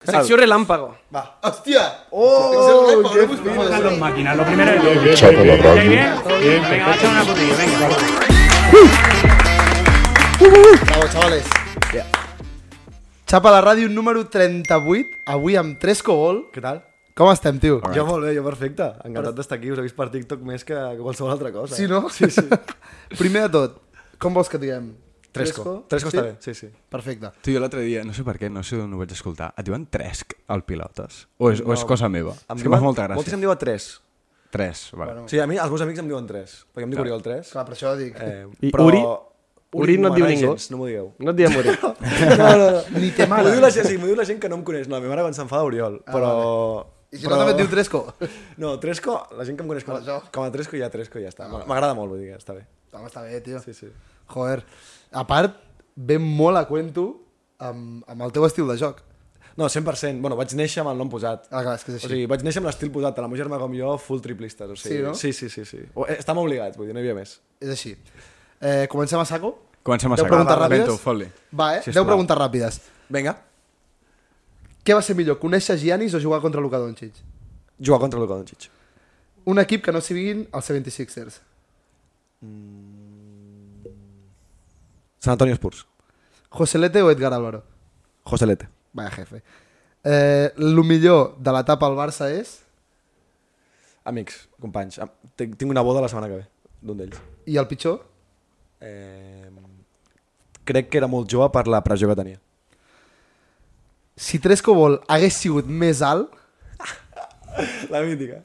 Secció relàmpago. Va. Hòstia! Oh, qué Están dos máquinas, lo primero es lo Chapo la ¿Estáis radio. bien? Venga, va a echar una putilla, venga. Bravo, chavales. Xapa la ràdio número 38, avui amb Tresco Gol. Què tal? Com estem, tio? Jo molt bé, jo perfecte. Encantat d'estar aquí, us he vist per TikTok més que que qualsevol altra cosa. eh? Sí, no? Sí, sí. Primer de tot, com vols que et diguem? Tresco. Tresco està bé, sí, sí. Perfecte. Tu, jo l'altre dia, no sé per què, no sé on ho vaig escoltar, et diuen Tresc al Pilotes? O és, no, o és cosa meva? és que em fa molta gràcia. Moltes em diuen 3. Tres, vale. Bueno. Sí, a mi els meus amics em diuen 3, perquè em dic Oriol 3. Clar, per això dic. Eh, I Uri? Uri no et diu m'agrada ningú? Gens, no m'ho digueu. No et diem morir. No, no, no. Ni te M'ho males. diu, la gent, sí, m'ho diu la gent que no em coneix. No, la meva mare quan s'enfada Oriol, però... Ah, I si no també et diu Tresco? No, Tresco, la gent que em coneix com, a- Això. com a Tresco ja Tresco i ja està. Ah, M'agrada molt, vull dir, està bé. Home, està bé, tio. Sí, sí. Joder. A part, ve molt a cuento amb, amb el teu estil de joc. No, 100%. Bueno, vaig néixer amb el nom posat. Ah, clar, és que és O així. sigui, vaig néixer amb l'estil posat, tant la meva germana com jo, full triplistes. O sigui, Sí, no? Sí, sí, sí. sí. O, eh, estàvem obligats, vull dir, no hi havia més. És així. Eh, comencem a saco? Comencem a Deu saco. preguntes Va, va, ràpides? Bento, fot-li. Va, eh? Sisplau. Deu preguntes ràpides. Vinga. Què va ser millor, conèixer Giannis o jugar contra Luka Doncic? Jugar contra Luka Doncic. Un equip que no siguin els 76ers. San Mm. Antonio Spurs. Joselete o Edgar Álvaro? Joselete. Vaya jefe. Eh, lo millor de l'etapa al Barça és Amics, companys. Am- Tinc tinc una boda la setmana que ve, d'un d'ells. i el pitjor? Eh, crec que era molt jove per la pressió que tenia. Si Tresco Vol hagués sigut més alt... La mítica.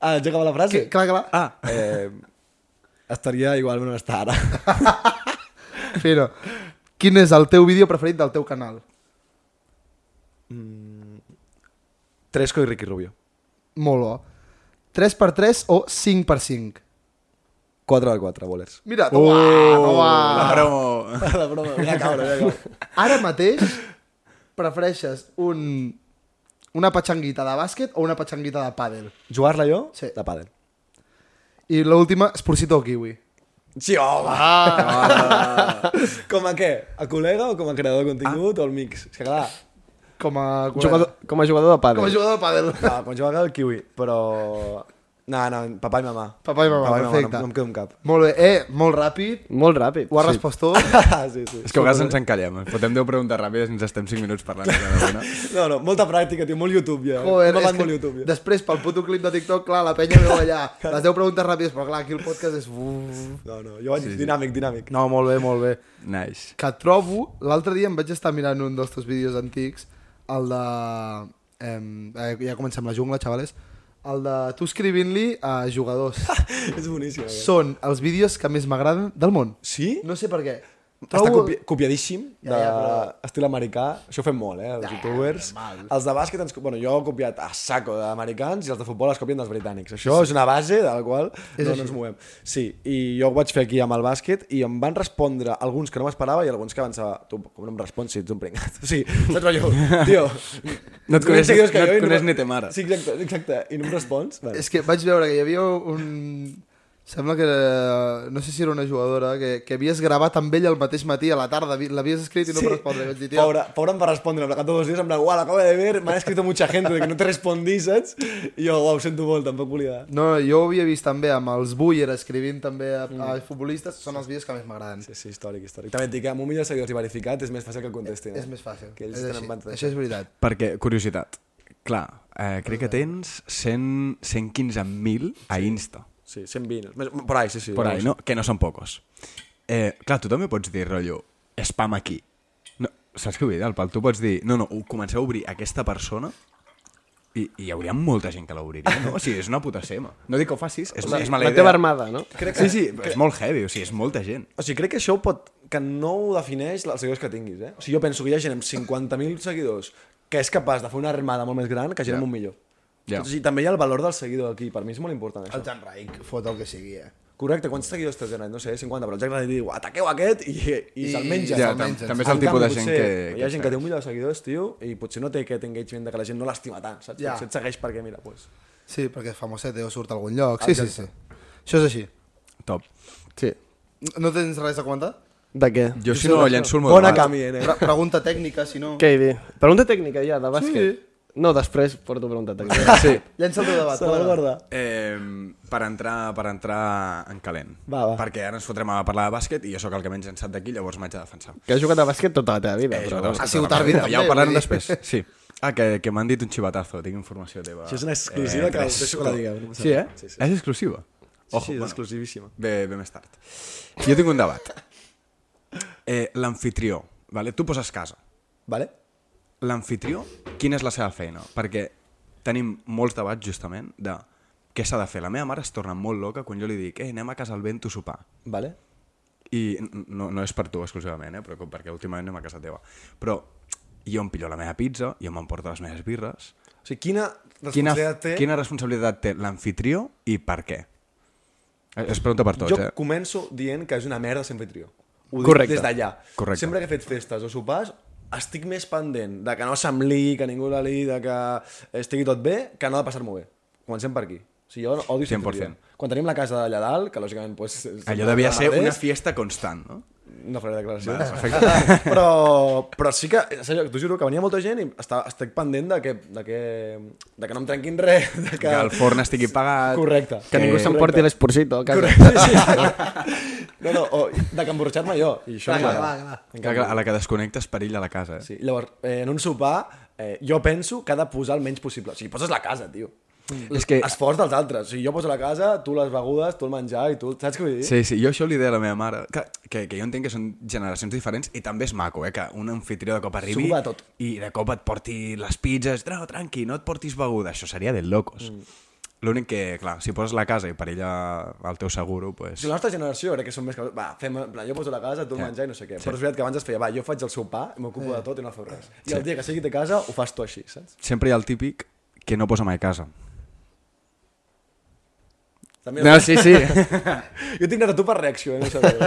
Ah, ja acaba la frase? Que, clar, clar. Ah, eh, estaria igualment on està ara. Però, quin és el teu vídeo preferit del teu canal? Tresco i Ricky Rubio. Molt bo. 3x3 o 5x5? 4x4, bolers. Mira, tu, uah, no, Oh, La uah. promo. La broma, ja cabra, ja cabra. Ara mateix prefereixes un, una patxanguita de bàsquet o una patxanguita de pàdel? Jugar-la jo? Sí. De pàdel. I l'última, esporcito o kiwi? Sí, home! Ah. com a què? A col·lega o com a creador de contingut ah. o al mix? És que clar, Com a... Jugador, com a jugador de Com a pàdel. jugador de pàdel. clar quan jo vegada el kiwi, però... No, no, papà i mamà. Papà i mamà, perfecte. no, no em quedo amb cap. Molt bé. Eh, molt ràpid. Molt ràpid. Ho has sí. respost tot. Ah, sí, sí. És que a vegades ens encallem. eh? Fotem deu preguntes ràpides i ens estem 5 minuts parlant. cada una. No, no, molta pràctica, tio, molt YouTube eh. ja. Joder, M'ha és anat que molt YouTube ja. després pel puto clip de TikTok, clar, la penya veu allà les 10 preguntes ràpides, però clar, aquí el podcast és... Uf. No, no, jo vaig sí, dinàmic, dinàmic. No, molt bé, molt bé. Nice. Que trobo, l'altre dia em vaig estar mirant un dels teus vídeos antics, el de... Eh, eh, ja comencem la jungla, xavales. El de tu escrivint-li a jugadors. és boníssim. aquest. Són els vídeos que més m'agraden del món. Sí? No sé per què. Està copi copiadíssim Ja, de ja, però- estil americà. Això ho fem molt, eh, els youtubers. Els de bàsquet, ens... co- bueno, jo he copiat a saco d'americans i els de futbol els copien dels britànics. Això és una base de la qual no, no ens movem. Sí, i jo ho vaig fer aquí amb el bàsquet i em van respondre alguns que no m'esperava i alguns que pensava, tu com no em respons si ets un pringat? O sigui, saps allò? Tio, No et tens coneix- seguidors que no et jo i coneix me- ni te mare. Sí, exacte, exacte. I no em respons? Vale. És que vaig veure que hi havia un... Sembla que era... No sé si era una jugadora que, que havies gravat amb ella el mateix matí a la tarda, vi- l'havies escrit i no sí. va respondre. I Vaig dir, tio, Pobre, pobre em va respondre, en plan, todos los días, en plan, guau, la acabo de ver, me ha escrito mucha gente de que no te respondí, saps? I jo, guau, ho sento molt, tampoc volia... No, jo ho havia vist també amb els Buller escrivint també a, Mm. a futbolistes, són els vídeos que més m'agraden. Sí, sí, històric, històric. També et dic que amb un milió de seguidors i verificat és més fàcil que contestin. Eh? És més fàcil. Que ells és estan així. en banda. Això és veritat. Perquè, curiositat, clar, eh, crec que tens 100 115.000 a Insta. Sí, 120. Més, por ahí, sí, sí. Por ahí, no? Que no són pocos. Eh, clar, tu també pots dir, rotllo, spam aquí. No, saps què vull dir, Alpal? Tu pots dir, no, no, ho- comenceu a obrir aquesta persona i, i hi hauria molta gent que l'obriria, no? O sigui, és una puta sema. No dic que ho facis, és, és mala La idea. teva armada, no? Crec que... Sí, sí, és molt heavy, o sigui, és molta gent. O sigui, crec que això pot... que no ho defineix els seguidors que tinguis, eh? O sigui, jo penso que hi ha gent amb 50.000 seguidors que és capaç de fer una armada molt més gran que gent amb un milió. Ja. O sigui, també hi ha el valor del seguidor aquí, per mi és molt important això. El Jan Raik fot el que sigui, eh? Correcte, quants seguidors té el Janet? No sé, 50, però el Janet diu, ataqueu aquest i, i, I- se'l menja. Ja, Ja, tam- tam almenys, també és el tipus de gent que... Hi ha gent que té un milió de seguidors, tio, i potser no té aquest engagement de que la gent no l'estima tant, saps? Ja. Ja. Potser et segueix perquè, mira, doncs... Sí, perquè Famosete o surt a algun lloc. Sí, sí, sí. Això és així. Top. Sí. No tens res a comentar? De què? Jo si no llenço el Bona moderat. canvi, eh? Pre pregunta tècnica, si no. Què hi dir? Pregunta tècnica ja, de bàsquet. Sí. No, després porto pregunta tècnica. Sí. Llença el teu debat. Se la Pere. guarda. Eh, per, entrar, per entrar en calent. Va, va. Perquè ara ens fotrem a parlar de bàsquet i jo sóc el que menys en sap d'aquí, llavors m'haig de defensar. que has jugat a bàsquet tota la teva vida. Eh, però jugat a bueno. bàsquet ha sigut tota la àrbitre vida. Ja ho també, parlarem vull dir. després. Sí. Ah, que, que m'han dit un xivatazo, tinc informació teva. Això és una exclusiva que tres. us deixo que la digueu, no passa Sí, eh? res. Sí, sí. És exclusiva. Ojo, sí, és Oh, bueno. exclusivíssima. Bé, bé més tard. Jo tinc un debat. Eh, L'anfitrió, vale? tu poses casa. Vale? L'anfitrió, quina és la seva feina? Perquè tenim molts debats, justament, de què s'ha de fer. La meva mare es torna molt loca quan jo li dic eh, anem a casa al vent a sopar. Vale? I n- no, no és per tu exclusivament, eh? però com perquè últimament anem a casa teva. Però jo em pillo la meva pizza, jo m'emporto les meves birres. O sigui, quina Quina, responsabilitat té... quina responsabilitat té l'anfitrió i per què? Eh, És pregunta per tots, jo eh? començo dient que és una merda sempre trio. Ho Correcte. dic des d'allà. Correcte. Sempre que he fet festes o sopars, estic més pendent de que no se'm liï, que ningú la liï, de que estigui tot bé, que no de passar-m'ho bé. Comencem per aquí. O sigui, jo odio ser 100%. trio. Quan tenim la casa d'allà dalt, que lògicament... Pues, Allò devia ser una fiesta constant, no? No faré declaracions. però, però sí que, en sèrio, t'ho juro, que venia molta gent i està, estic pendent de que, de que, de que no em trenquin res. De que, Que el forn estigui pagat... Correcte. Que ningú Eh, s'emporti l'esporcito a casa. Correcte, sí, sí. No, no, o de que emborratxar-me jo. I això Clar, no clar, m'agrada. clar. Que a la que desconnectes perilla la casa, eh? Sí, llavors, eh, en un sopar, eh, jo penso que ha de posar el menys possible. O sigui, poses la casa, tio. És que... Esforç dels altres. O sigui, jo poso la casa, tu les begudes, tu el menjar i tu... Saps què vull dir? Sí, sí, jo això li deia a la meva mare, que, que, que jo entenc que són generacions diferents i també és maco, eh, que un anfitrió de cop arribi S'ho va tot. i de cop et porti les pizzas, no, tranqui, no et portis beguda, això seria del locos. Mm. L'únic que, clar, si poses la casa i per ella el teu seguro, pues... Si la nostra generació crec que són més que... Va, fem, en plan, jo poso la casa, tu Eh. el menjar i no sé què. Però és veritat que abans es feia, va, jo faig el sopar, Eh. m'ocupo de tot i no feu res. I el dia que sigui de casa, ho fas tu així, saps? Sempre hi ha el típic que no posa mai casa. També No, sí, sí. Jo tinc anat a tu per reacció, eh? No sabeu.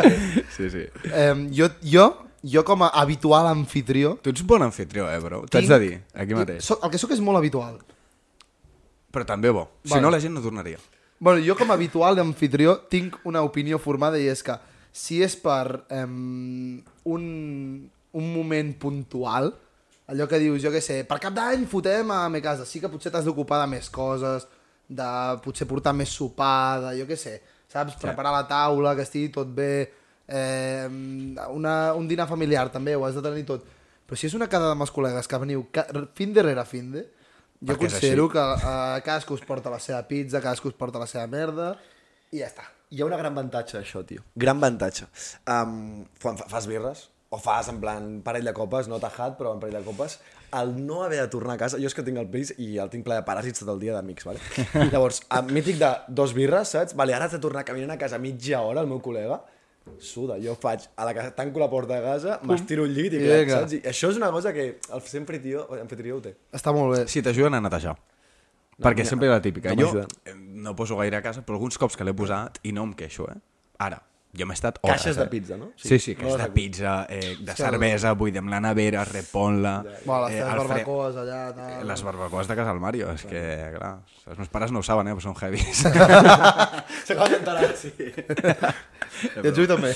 sí, sí. Em, jo, jo, jo com a habitual anfitrió... Tu ets bon anfitrió, eh, bro? T'haig tinc- de dir, aquí mateix. So, el que sóc és molt habitual. Però també bo. Si Vale. no, la gent no tornaria. Bueno, jo com a habitual d'anfitrió tinc una opinió formada i és que si és per um, un, un moment puntual, allò que dius, jo què sé, per cap d'any fotem a me casa, sí que potser t'has d'ocupar de més coses, de potser portar més sopar, de jo què sé, saps? Preparar la taula, que estigui tot bé, eh, una, un dinar familiar també, ho has de tenir tot. Però si és una quedada amb els col·legues que veniu ca- fin de rere fin de, jo Perquè és considero que eh, cadascú es porta la seva pizza, cadascú es porta la seva merda i ja està. Hi ha una gran avantatge d'això, tio. Gran avantatge. Um, quan fa- fas birres, o fas en plan parell de copes, no tajat, però en parell de copes, el no haver de tornar a casa, jo és que tinc el pis i el tinc ple de paràsits tot el dia d'amics, vale? Llavors, a mític de dos birres, saps? Vale, ara has de tornar caminant a casa mitja hora, el meu col·lega, suda, jo faig a la casa, tanco la porta de casa, m'estiro el llit i, I crec, vinga. saps? I això és una cosa que el sempre tio, anfitrió ho té. Està molt bé. Si t'ajuden a netejar. perquè mira, sempre era la típica. no No jo m'ajuden. eh, no poso gaire a casa, però alguns cops que l'he posat i no em queixo, eh? Ara, jo m'he estat hores. Caixes eh? de pizza, no? Sí, Sí, sí, sí no caixes les de recull. pizza, eh, de cervesa, buidem la nevera, repon-la... Bueno, les eh, teves el fre- eh, barbacoes eh. allà... Tal. Les barbacoes de casa del Mario, és que, clar, els meus pares no ho saben, eh, però són heavies. S'acaba d'enterar, sí. I el Jui també.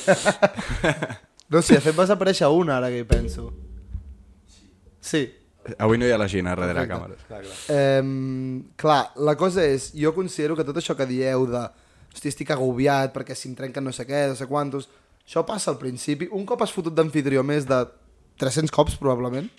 no sé, de fet vas aparèixer una ara que hi penso. Sí. Avui no hi ha la Gina darrere la càmera. Clar, clar. Em, clar, la cosa és, jo considero que tot això que dieu de hosti, estic agobiat perquè si em trenquen no sé què, no sé quantos, això passa al principi. Un cop has fotut d'anfitrió més de 300 cops, probablement,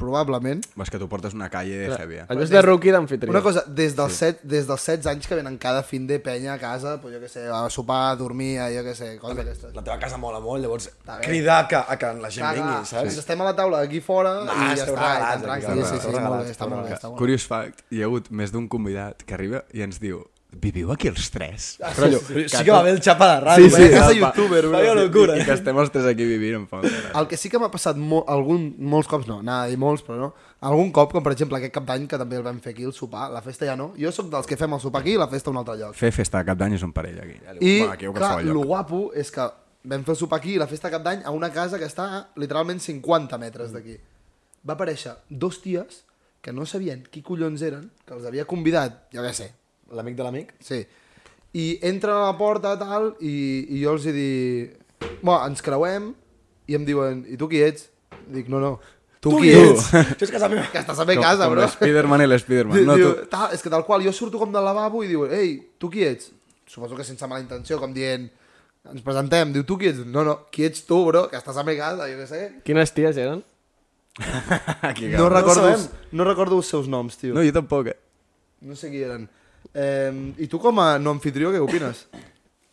probablement, És que tu portes una calle heavy, eh? Allò és de rookie d'anfitrió. Una cosa, des dels, sí. set, des dels 16 anys que venen cada fin de penya a casa, pues, jo què sé, a sopar, a dormir, a jo què sé, coses d'aquestes. La teva casa mola molt, llavors Està bé. cridar que, a que la gent Clar, clar, vingui, saps? Ens estem a la taula aquí fora No, i ja està, esteu i regalats, tan tranquils. aquí, Sí, sí, sí, esteu molt bé, regalats, està molt bé, esteu està molt bé. Curious fact, hi ha hagut més d'un convidat que arriba i ens diu Viviu aquí els tres? Ah, sí, sí, sí que va haver el xapa de ràdio. Sí, sí, eh? casa Va- youtuber, una Vaya locura. ¿eh? I, i que estem els tres aquí vivint, em fa una gràcia. El que sí que m'ha passat mo algun, molts cops, no, anava a dir molts, però no, algun cop, com per exemple aquest cap d'any, que també el vam fer aquí, el sopar, la festa ja no, jo sóc dels que fem el sopar aquí i la festa a un altre lloc. Fer festa de cap d'any és un parell, aquí. I, Va, aquí o clar, qualsevol el lloc. guapo és que vam fer el sopar aquí i la festa de cap d'any a una casa que està a literalment 50 metres d'aquí. Mm. Va aparèixer dos ties que no sabien qui collons eren, que els havia convidat, jo què sé, L'amic de l'amic? sí. I entren a la porta, tal, i, i jo els he dit... Bueno, ens creuem i em diuen, i tu qui ets? Dic, no, no. Tu, qui qui ets? ets? Això és casa meva. Que estàs a fer casa, com bro. l'Spiderman i l'Spiderman. Diu, No, diu, tu... "Ta- és que tal qual, jo surto com del lavabo i diu, ei, tu qui ets? Suposo que sense mala intenció, com dient, ens presentem, diu, tu qui ets? No, no, qui ets tu, bro, que estàs a mi casa, jo què sé. Quines ties eren? Aquí, No, recordo, sabem. els, no recordo els seus noms, tio. No, No, jo tampoc, eh? no sé qui eren. Eh, I tu com a no anfitrió, què opines?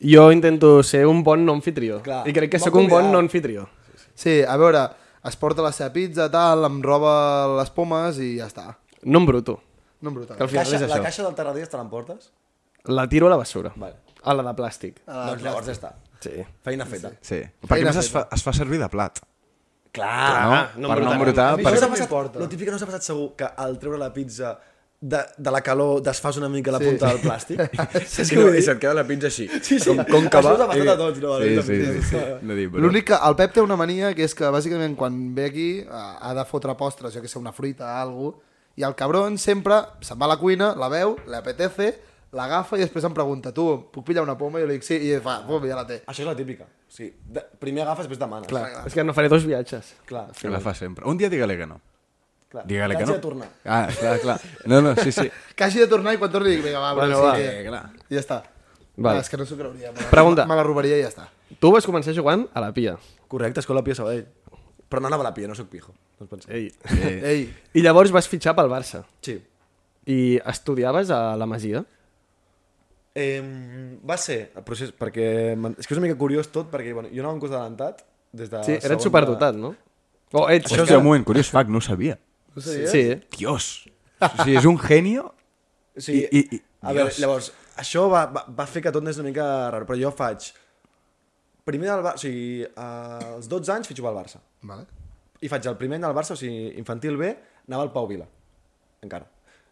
Jo intento ser un bon no anfitrió. Clar. I crec que Bon sóc un bon convidat. no anfitrió. Sí, a veure, es porta la seva pizza, tal, em roba les pomes i ja està. No em bruto. No em Que brutal. al final Caixa, és la això. caixa del Terradillas te l'emportes? La tiro a la basura. Vale. A la de plàstic. Ah, doncs llavors ja està. Sí. Feina feta. Sí. Perquè a Feina més es fa, es fa servir de plat. Clar. no? no per no embrutar. Ah, embrutar. A mi Per... això no s'ha passat, m'importa. lo típic que no s'ha passat segur, que al treure la pizza de, de la calor desfas una mica la punta del plàstic. Saps què vull dir? et queda la pinza així. Sí, sí. Això us ha passat a tots, no? A Sí, mi sí, també. sí. sí. No dic, però... L'únic que el Pep té una mania que és que bàsicament quan ve aquí eh, ha de fotre postres, jo que sé, una fruita, algo, i el cabron sempre se'n va a la cuina, la veu, li apetece, l'agafa i després em pregunta, tu, puc pillar una poma? I jo li dic, sí, i fa, pum, ja la té. Això és la típica. Sí. De, primer agafes, després demanes. Clar. És que no faré dos viatges. Clar. Que la fa sempre. Un dia digue-li que no. clar. Digue-li que T'has no. de tornar. Ah, clar, clar. No, no, sí, sí. Que hagi de tornar i quan torni dic, vinga, va, Bueno, bueno, va. sí, Eh, que... clar. I ja està. Vale. No, és que no s'ho creuria. Me la, Pregunta. Me la robaria i ja està. Tu vas començar jugant a la pia. Correcte, escola Pia Sabadell. Però no anava a la Pia, no sóc Doncs pijo. No us penseu. Ei. Eh, Ei, I llavors vas fitxar pel Barça. Sí. I estudiaves a la Masia? Eh, va ser el procés, perquè... m'en- És que és una mica curiós tot, perquè bueno, jo anava un curs adelantat des de Sí, segona- eres superdotat, no? O ets... Això és un moment curiós, fac, no ho sabia. no Sí. sabia? sí. Dios. O sigui, és un genio. Sí, I- i- i- a veure, Dios. llavors, això va, va, va fer que tot anés una mica raro, però jo faig... Primer del Barça, o sigui, als 12 anys fitxo pel Barça. Vale. I faig el primer any al Barça, o sigui, infantil B, anava al Pau Vila, encara.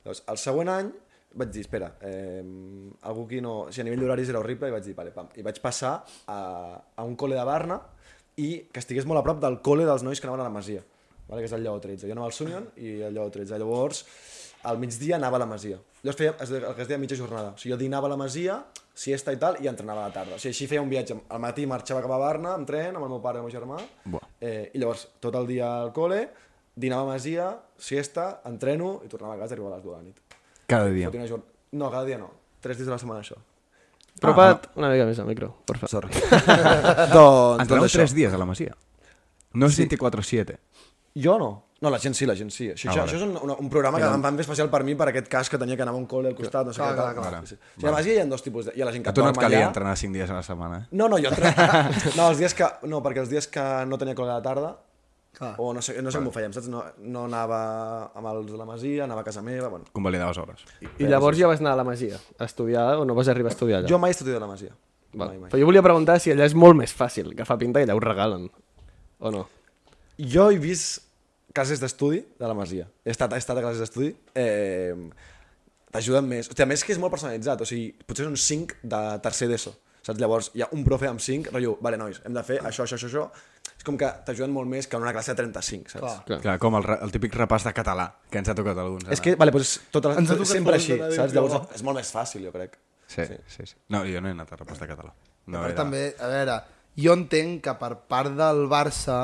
Llavors, el següent any vaig dir, espera, eh, algú aquí no... O sigui, a nivell d'horaris era horrible i vaig dir, vale, pam. I vaig passar a, a un col·le de Barna i que estigués molt a prop del col·le dels nois que anaven a la Masia, vale, que és el Lleó 13. Jo anava al Sunyon i el Lleó 13. Llavors, al migdia anava a la Masia. Llavors feia es de- el que es deia mitja jornada. O sigui, jo dinava a la Masia, siesta i tal, i entrenava a la tarda. O sigui, així feia un viatge. Al matí marxava cap a Barna, amb tren, amb el meu pare i el meu germà. Buah. Eh, I llavors, tot el dia al col·le, dinava a Masia, siesta, entreno i tornava a casa i arribava a les dues de la nit. Cada dia. Fotia una jorn- No, cada dia no. Tres dies de la setmana, això. Propa't una mica més al micro, per favor. Sorry. doncs, Entreneu doncs això. 3 dies a la Masia. No és 24-7. Jo no. No, la gent sí, la gent sí. Això, Ah, això, vale. això és un, una- un programa que em van fer especial per mi per aquest cas que tenia que anar a un col·le al costat, no sé Clar, què tal. clar, clar. Sí, sí. O sigui, a la Masia hi ha dos tipus. De... Hi ha la gent A que tu no et dorm calia allà. entrenar 5 dies a la setmana, eh? No, no, jo entre... no, els dies que... no, perquè els dies que no tenia col·le a la tarda, Clar. o no sé, no sé com ho fèiem, saps? No, no anava amb els de la Masia, anava a casa meva, bueno. Convalidaves hores. I llavors ja vas anar a la Masia a estudiar o no vas arribar a estudiar allà? Jo mai he estudiat a la Masia. Val. Mai, mai. Però jo volia preguntar si allà és molt més fàcil, que fa pinta que allà ho regalen. O no? Jo he vist classes d'estudi de la Masia. He estat, he estat a classes d'estudi. Eh, T'ajuden més. Hòstia, a més que és molt personalitzat. O sigui, potser són 5 de tercer d'ESO. Saps? Llavors hi ha un profe amb 5, rotllo, vale, nois, hem de fer això, això, això, això. És com que t'ajuden molt més que en una classe de 35, saps? Clar. Clar. Clar, com el, re- el típic repàs de català, que ens ha tocat alguns. És que, vale, doncs, tot, Ens ha tocat sempre tot així, de saps? Déu, Llavors no? és molt més fàcil, jo crec. Sí, sí, sí, sí. No, jo no he anat a repàs de català. No, Però també, a veure, jo entenc que per part del Barça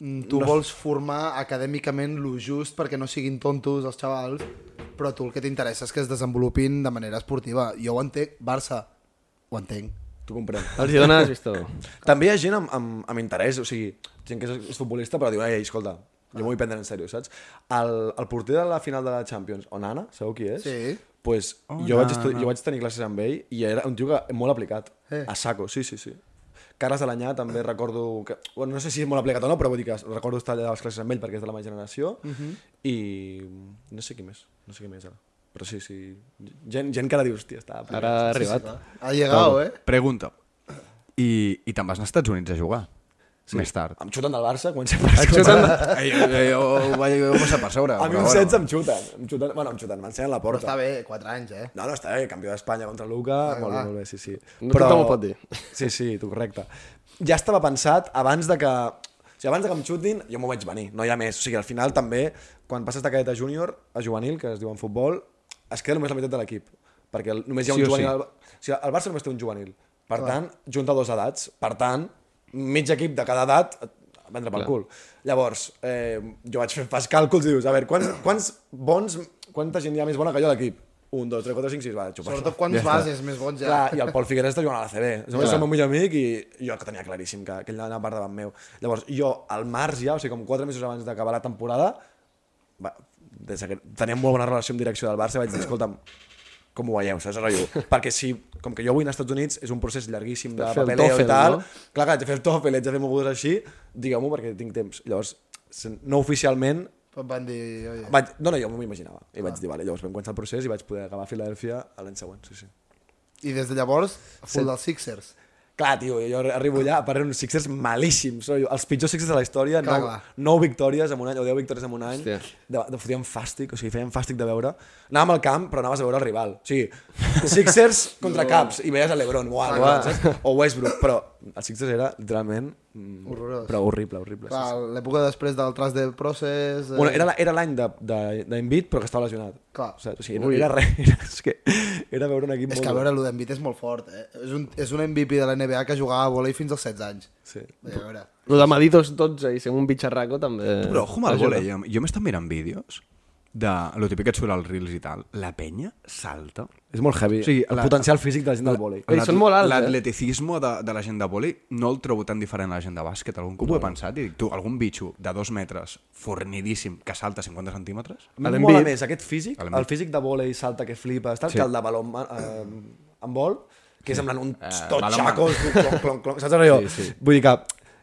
mm, tu no. vols formar acadèmicament lo just perquè no siguin tontos els xavals, però a tu el que t'interessa és que es desenvolupin de manera esportiva. Jo ho entenc, Barça, ho entenc. T'ho comprenc. Els hi dones vistó. També hi ha gent amb, amb, amb interès, o sigui, gent que és, és futbolista però diu, ei, escolta, jo m'ho vull prendre en sèrio, saps? El, el porter de la final de la Champions, Onana, sabeu qui és? Sí. Pues, jo, vaig estu- jo vaig tenir classes amb ell i era un tio que molt aplicat, eh. a saco, sí, sí, sí. Cares de l'anyà també recordo... Que, bueno, no sé si és molt aplicat o no, però vull dir que recordo estar allà a les classes amb ell perquè és de la meva generació uh -huh. i no sé qui més, no sé qui més ara. Però sí, sí, gent, gent que ara dius, hòstia, està... aplicat", Ara ha saps? arribat. Ha llegat, eh? Pregunta. I, i te'n vas als Estats Units a jugar? Sí. Més tard. Em xuten del Barça quan sempre... Ai, jo, jo, ho vaig ho vaig passar per sobre. A mi però un bueno. 16 em xuten, em xuten, bueno, em xuten, m'ensenyen la Però porta. està bé, 4 anys, eh? No, no, està bé, campió d'Espanya contra el Luca, molt bé, molt bé, sí, sí. No tothom ho pot dir. Sí, sí, tu correcte. Ja estava pensat abans de que... O sigui, abans de que em xutin, jo m'ho vaig venir, no hi ha més. O sigui, al final també, quan passes de cadet a júnior, a juvenil, que es diu en futbol, es queda només la meitat de l'equip. Perquè el- només hi ha un Sí o juvenil... al- O sí. sigui, el Barça només té un juvenil. Per tant, junta dos edats. Per tant, mig equip de cada edat et vendre pel cul. Llavors, eh, jo vaig fer pas càlculs i dius, a veure, quants, quants bons, quanta gent hi ha més bona que jo a l'equip? 1, 2, 3, 4, 5, 6, va, xupar Sobretot quants està. bases més bons ja. Clar, i el Pol Figueres està jugant a l'ACB. Ja som el millor amic i jo que tenia claríssim que aquell anava part davant meu. Llavors, jo al març ja, o sigui, com quatre mesos abans d'acabar la temporada, va, des que tenia molt bona relació amb direcció del Barça, vaig dir, escolta'm, com ho veieu, saps? Rotllo? Perquè si, com que jo vull anar als Estats Units, és un procés llarguíssim de Fer el papeleo i TOEFL, tal. no? Clar, que haig de fer el TOEFL, haig de fer mogudes així, digueu-m'ho perquè tinc temps. Llavors, sen- no oficialment, Em van dir... Oye. vaig, no, no, jo m'ho imaginava. I vaig dir, vale, llavors vam començar el procés i vaig poder acabar a Filadèlfia l'any següent, sí, sí. I des de llavors, full dels Sixers. Clar, tio, jo arribo allà, a part uns Sixers malíssims, rotllo, els pitjors Sixers de la història, Clar, 9, clar. 9 victòries en un any, o 10 victòries en un any, de, Hòstia. de fotien fàstic, o sigui, feien fàstic de veure. Anàvem al camp, però anaves a veure el rival. O sigui, Sixers contra Caps, i veies a l'Ebron, uau, Clar, uau, clar. saps? o Westbrook, però els Sixers era literalment... mm, Horrorós. Però horrible, horrible. Clar, Sí, l'època després del tras de eh, procés... sí. Bueno, era la- era l'any de- de- d'Embiid, però que estava lesionat. Clar. Saps? O sigui, no, era res, era, és que, era veure un equip És molt... que a dur. veure, lo d'Envit és molt fort, eh? És un, és un MVP de la NBA que jugava a volei fins als 16 anys. Sí. Vull dir, A veure... Lo de Madidos 12 i ser un bitxarraco també... Però ojo amb el eh? ajuda. vòlei. Jo m'he estat mirant vídeos de lo típic que et surt als reels i tal. La penya salta. És molt heavy. O sigui, el la- potencial físic de la gent del vòlei. Ei, són molt alts, eh? L'atleticisme de, de la gent de vòlei no el trobo tan diferent a la gent de bàsquet. Algun cop ho he pensat i dic, tu, algun bitxo de dos metres, fornidíssim, que salta 50 centímetres? A mi em L'Embiid. mola més aquest físic, A l'Embiid. el físic de vòlei salta que flipa, tal, sí. que el de baló amb, eh, amb vol, que és semblant un tot baló amb- xacos, clonc, clonc, clonc, saps allò? Sí, sí. Vull dir que,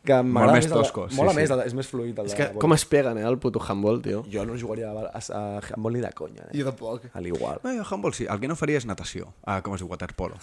que m'agrada més més el de- tosco, sí, Mola sí. més, el de- és més fluid el És de que vòlei. com es peguen, eh, el puto handball, tio. Jo no jugaria a, a, a, a vol ni de conya. Eh? Jo tampoc. A l'igual. No, jo handball sí. El que no faria és natació. Ah, com es diu, waterpolo.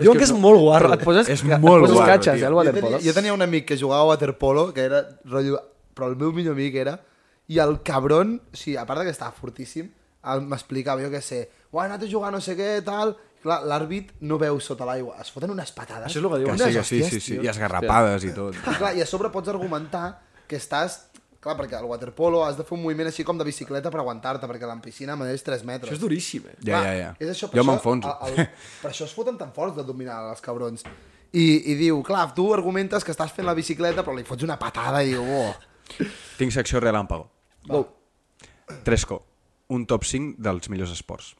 Diuen que és molt guarro. Et poses, És et molt poses guarro, catxes, eh, al tio. Jo tenia, waterpolo. jo tenia un amic que jugava a waterpolo, que era rotllo... Però el meu millor amic era... I el cabron, o sigui, a part de que estava fortíssim, el- m'explicava, jo què sé, uah, he anat a jugar no sé què, tal... Clar, l'àrbit no veu sota l'aigua. Es foten unes patades. Això és el que diuen. Que Unes sí, que sí, hòsties, sí, sí. tio. I esgarrapades i tot. I clar, i a sobre pots argumentar que estàs... Clar, perquè al waterpolo has de fer un moviment així com de bicicleta per aguantar-te, perquè la piscina mereix 3 metres. Això és duríssim, eh? Ja, Clar, ja, ja. És això, per jo això- m'enfonso. el- el- Per això es foten tan forts de dominar els cabrons. I, I diu, clar, tu argumentes que estàs fent la bicicleta, però li fots una patada i diu, oh, Tinc secció relàmpago. va, Tresco. Un top 5 dels millors esports.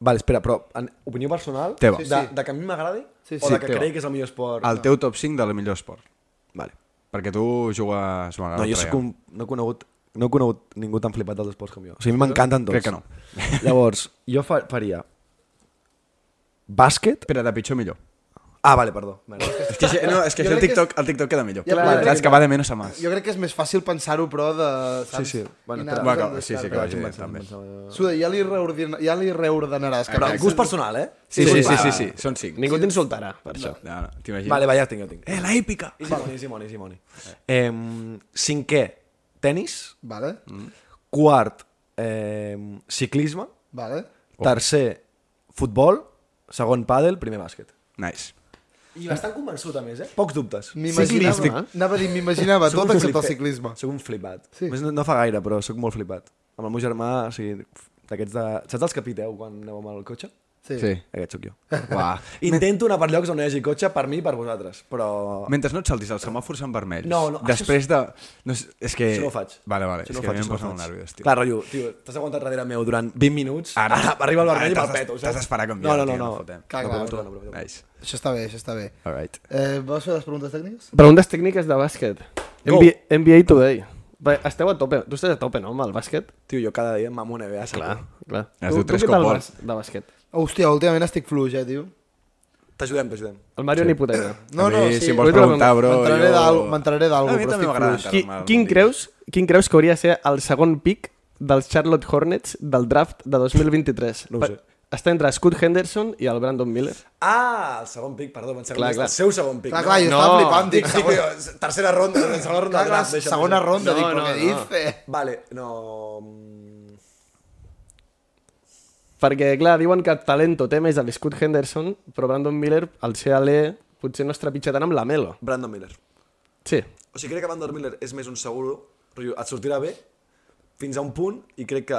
Vale, espera, però en opinió personal, Teva. de, de que a mi m'agradi, Sí, o sí, de que teva. crec que és el millor esport. El teu top 5 del millor esport. Vale. Perquè tu jugues... Bueno, No, jo l'altre soc dia. un, no, he conegut, no he conegut ningú tan flipat dels esports com jo. O sigui, a mi m'encanten tots. Crec que no. Llavors, jo fa, faria bàsquet... Espera, de pitjor millor. Ah, vale, perdó. Merda. És que, no, és que Jo això el crec que TikTok, el TikTok queda millor. Ja, Clar, clar, Saps clar. que va de menys a més. Jo crec que és més fàcil pensar-ho, però de... Saps? Sí, sí. Bueno, I espera. anar-nos Va, que- amb sí, sí, que descartes. vagi bé, també. Suda, ja li, reordena, ja li reordenaràs. Que Però gust personal, eh? Sí, sí, sí, clar. sí, sí, són 5. Ningú t'insultarà, per això. No, no, t'imagines? Vale, va, ja tinc, ja tinc. Eh, la hípica! Simoni, Simoni, Simoni. Eh, cinquè, tenis. Vale, Mm. Quart, eh, ciclisme. Oh. vale. Tercer, futbol. Segon, pàdel. Primer, bàsquet. Nice. I bastant convençut, a més, eh? Pocs dubtes. Ciclístic. M'imaginava, anava a dir, m'imaginava Soc tot tota un excepte el flipet. ciclisme. Soc un flipat. Sí. Sí. Més no, no fa gaire, però sóc molt flipat. Amb el meu germà, o sigui, f- d'aquests de... Saps els que piteu quan aneu amb el cotxe? Sí. Sí. Aquest sóc jo. Uah. Intento anar per llocs on no hi hagi cotxe per mi i per vosaltres, però... Mentre no et saltis els semàfors en vermell. No, no, Després de... No, és, és que... Això no ho faig. Vale, vale. Això és no ho que faig, a mi això no ho em posa faig. molt nerviós, tio. Clar, rotllo, tio, t'has aguantat darrere meu durant 20 minuts, ara, ara arriba el vermell i me'l Ara t'has- peto, saps? T'has d'esperar com No, jo, no, no, tio, no. fotem. Clar, No clar, podem no, no, no. Nice. Això està bé, això està bé. All right. Eh, vols fer les preguntes tècniques? Preguntes tècniques de bàsquet. Go. NBA, NBA Today. Va, Esteu a tope. Tu estàs a tope, no, amb el bàsquet? Tio, jo cada dia eh, mamo una NBA, Clar, saps? clar. Es Tu, diu tu tres què tal copol. vas de bàsquet? Hòstia, últimament estic fluix, eh, tio. T'ajudem, t'ajudem. El Mario sí. ni puta idea. No, A no, mi, sí. Si em vols Vull preguntar, preguntar- bro... M'entraré jo- d'al- m'entraré d'algo, A mi però també estic m'agrada fluix. Qui, entrar-me algun quin, dia. creus, quin creus que hauria de ser el segon pic dels Charlotte Hornets del draft de 2023? No ho sé. Pa- Està entre Scott Henderson i el Brandon Miller. Ah, el segon pic, perdó, pensava Clar, que clar. el seu segon pic. Clar, no? clar, jo No. estava flipant, Dic, dic, sí, segona, però tercera ronda, segona ronda. clar, clar, draft, deixa'm- segona deixa'm. ronda, No, dic, però no, què no. dice? Vale, no... mm, Perquè, clar, diuen que talento té més el Scott Henderson, però Brandon Miller, al ser a l'E, potser no es trepitja tant amb la Melo. Brandon Miller. Sí. O sigui, crec que Brandon Miller és més un seguro, rotllo, et sortirà bé fins a un punt i crec que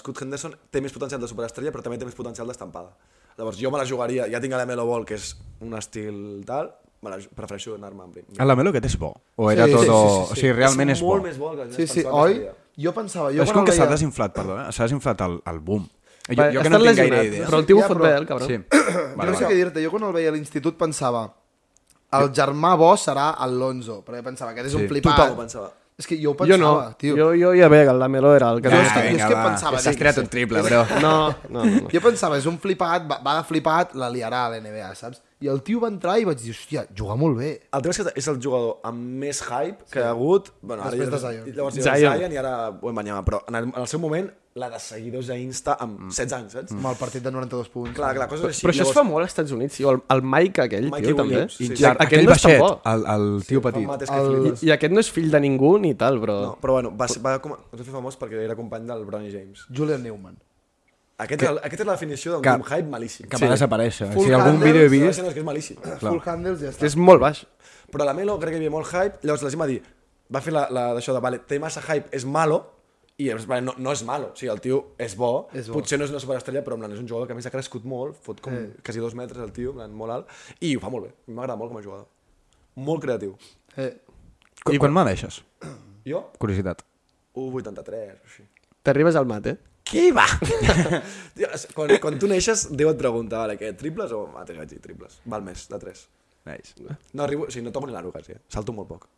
Scott Henderson té més potencial de superestrella però també té més potencial d'estampada. Llavors jo me la jugaria, ja tinc la Melo Ball, que és un estil tal, me la, ju- prefereixo anar-me amb Brim. El Lamelo aquest és bo. O era Sí, tot... sí, o... sí, sí, sí. o sigui, realment és, és bo. molt més bo que Sí, sí, oi? Jo pensava... Jo és quan com el que s'ha veia- desinflat, perdó, eh? s'ha desinflat el, el boom. Jo, Va, jo que ha no en estat tinc gaire lesionat, idea. Però el tio Ja, ho fot però- bé, el cabró. Sí. jo Vale, no sé vale. què dir-te, jo quan el veia a l'institut pensava el germà bo serà Alonso, perquè pensava que és un Sí, flipat. tothom ho pensava. És que jo ho Jo pensava, no, tio. jo, jo ja veig, el Lamelo era el que... Jo no és estava. que- jo és que pensava, S'ha dic, estrenat sí. un triple, bro. No, no, no. no. Jo pensava, és un flipat, va, va de flipat, la liarà a l'NBA, saps? I el tio va entrar i vaig dir, hòstia, juga molt bé. El tema és que és el jugador amb més hype que hi ha hagut. Bueno, ara Després ja- de Zion. i Llavors hi ha Zion. Zion. i ara Wembanyama, però en el, en el seu moment la de seguidors a Insta Mm. amb 16 anys, saps? Amb el partit de 92 punts. Clar, clar, coses així. Però això es fa molt als Estats Units, tio. El, el Mike aquell, Mikey tio, també. Williams, sí, sí. Ja- Aquell no és tan bo. el, el tio petit. Mateix que El- el... I, I aquest no és fill de ningú ni tal, però... No, però bueno, va, ser- va, com, es va fer famós perquè era company del Bronny James. Julian Newman. Aquest, que, aquesta és la definició d'un que- que, hype malíssim. Que va desaparèixer. eh. Full Si algun handles, vídeo he Sí, la vist... gent és que és malíssim. Full handles ja Que està. és molt baix. Però la Melo crec que hi havia molt hype, llavors la gent va dir, va fer la, la d'això de, vale, té massa hype, és malo, i és, vale, no, no és malo, o sigui, el tio és bo, És bo. potser no és una superestrella, però en plan, és un jugador que a més ha crescut molt, fot com eh. quasi dos metres el tio, en plan, molt alt, i ho fa molt bé, m'agrada molt com a jugador. Molt creatiu. Eh, Qu- Quan me la deixes? Jo, Curiositat. 1,83, o així. T'arribes al mat, eh? Qui va? Tio, és- quan, quan tu neixes, Déu et pregunta, vale, què, triples o... Ah, vaig dir triples, val més, de 3. Nice. No arribo, o sigui, no toco ni l'aro, quasi, eh? salto molt poc.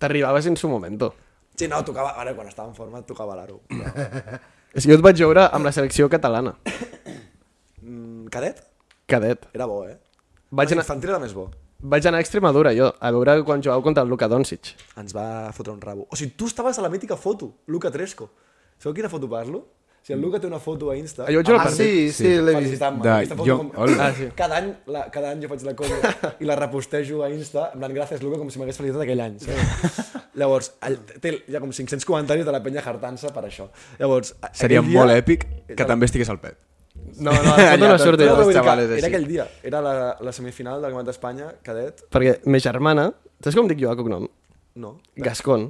T'arribaves en su momento. Sí, no, tocava, ara quan estava en forma tocava l'aro. però- És que jo et vaig veure amb la selecció catalana. Mm, cadet? Cadet. Era bo, eh? Vaig Vaig anar- infantil era més bo. Vaig anar a Extremadura, jo, a veure quan jugava contra el Luka Doncic. Ens va fotre un rabo. O sigui, tu estaves a la mítica foto, Luca Tresco. Sabeu quina foto parlo? O sigui, el Luca té una foto a Insta. Ah, jo vaig veure el ah, partit. sí, sí, Sí. l'he vist. Felicitant-me. De- Aquesta foto jo- com- hola. Ah, sí. Cada any, la, cada any jo faig la colla i la repostejo a Insta, en plan, gràcies, Luca, com si m'hagués felicitat aquell any. saps? Llavors, el, té ja com 500 comentaris de la penya jartant-se per això. Llavors, a- Seria aquell dia- molt èpic que Era- també estigués al Pep. No, no, la foto no surt jo. No, però vull dir que xavales així. Era aquell dia, era la, la semifinal del Campionat d'Espanya, cadet, Perquè ma germana... Saps com dic jo a cognom? no. Gascon.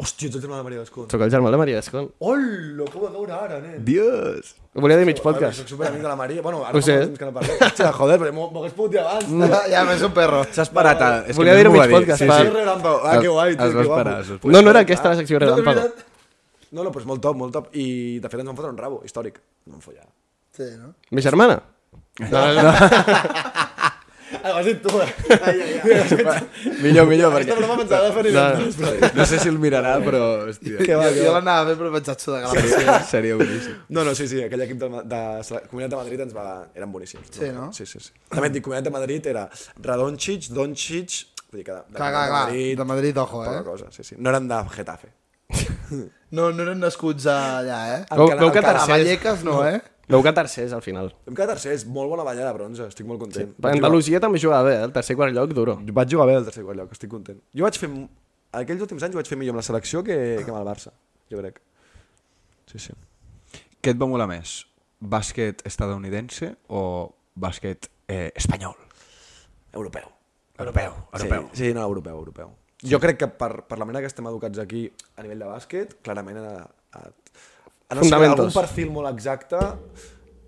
Hòstia, ets el germà de Maria Gascón. Sóc el germà de Maria Gascon. Hola, com ho va eh? veure ara, nen? Dios! Ho volia dir mig Bueno, podcast. Soc superamic pues, de la Maria. Bueno, Ho ara Pues sé. fa molt temps que no parlem. Hòstia, joder, però m'ho m'ho hagués pogut dir abans. Ja, ja, és un perro. S'ha esperat a... és que Volia dir-ho ningú ho mig va dir. podcast, Sí, va. sí. Sí, relámpago. Ah, que guai, tio, Es va que guapo. esperar. es va esperar. No, no era aquesta la secció de Relámpago. No, no, però és molt top, molt top. I de fet ens van fotre un rabo, històric. No em follar. Sí, no? Ma germana? No, no, no. Ah, vas ser tu, eh? Ai, ai, ai. Millor, millor, Aquesta perquè... broma pensava de fer-hi després, però... No sé si el mirarà, però... Hòstia, Que va, Jo, que jo va. l'anava fent, però vaig aixudar que la seria, seria boníssim. No, no, sí, sí, aquell equip de, de, de la Comunitat de Madrid ens va... Eren boníssims. Sí, no? Sí, sí, sí. També et dic, Comunitat de Madrid era Radončić, Dončić... Vull dir que de, de, Clar, clar, clar. De Madrid, ojo, Poca eh? cosa, sí, sí. No eren de Getafe. No, no eren nascuts allà, eh? Veu- Cala- Veu que A tercers. Vallecas no, eh? Veu que tercers, al final. Hem quedat tercers, molt bona ballada de bronze, estic molt content. Va, Andalusia també jugava bé, eh? el tercer quart lloc, duro. Jo vaig jugar bé al tercer quart lloc, estic content. Jo vaig fer... m- Aquells últims anys ho vaig fer millor amb la selecció que, que amb el Barça, jo crec. Sí, sí. Què et va molar més? Bàsquet estadounidense o bàsquet eh, espanyol? Europeu. Europeu, europeu. Sí, sí no, europeu, europeu. Jo crec que per, per la manera que estem educats aquí a nivell de bàsquet, clarament a, a, a no ser Fundamentos. algun perfil molt exacte,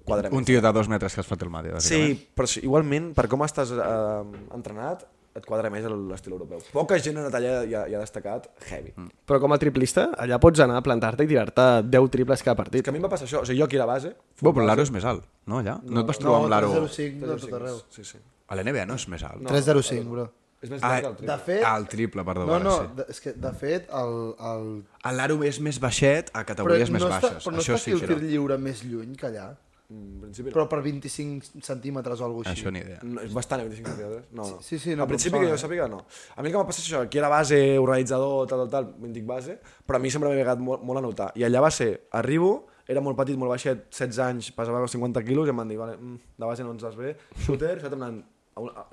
quadra Un eh? més. tio de dos metres que es fot el mate, bàsicament. Sí, però sí, igualment, per com estàs eh, entrenat, et quadra més el- l'estil europeu. Poca gent en allà hi ha, hi ha destacat heavy. Mm. Però com a triplista, allà pots anar a plantar-te i tirar-te 10 triples cada Que partit. a mi em va passar això, o sigui, jo aquí a la base... Bo, però l'aro és més alt, no, allà? No, et vas trobar No, amb l'aro... 305 de tot arreu. Sí, sí. A la NBA no és més alt. 305, bro. És més Ah, llarg que el De triple. fet... Ah, el triple, perdó. No, vale, no, sí. de- és que de fet el, el... A l'aro és més baixet, a categories més no baixes. Està, però no això està sí aquí que el era. tir lliure més lluny que allà, En principi no. però per 25 centímetres o alguna cosa així. Això ni idea. No, és bastant, eh, 25 centímetres? No, no. Sí, sí, no, però em Al principi sona, que jo eh? sàpiga, no. A mi el que m'ha passat és això, aquí era base, organitzador, tal, tal, tal, em dic base, però a mi sempre m'ha agradat molt, molt a notar. I allà va ser, arribo, era molt petit, molt baixet, 16 anys, pesava 50 quilos, i em van dir, vale, mm, de base no ens vas bé, shooter, això t'anant,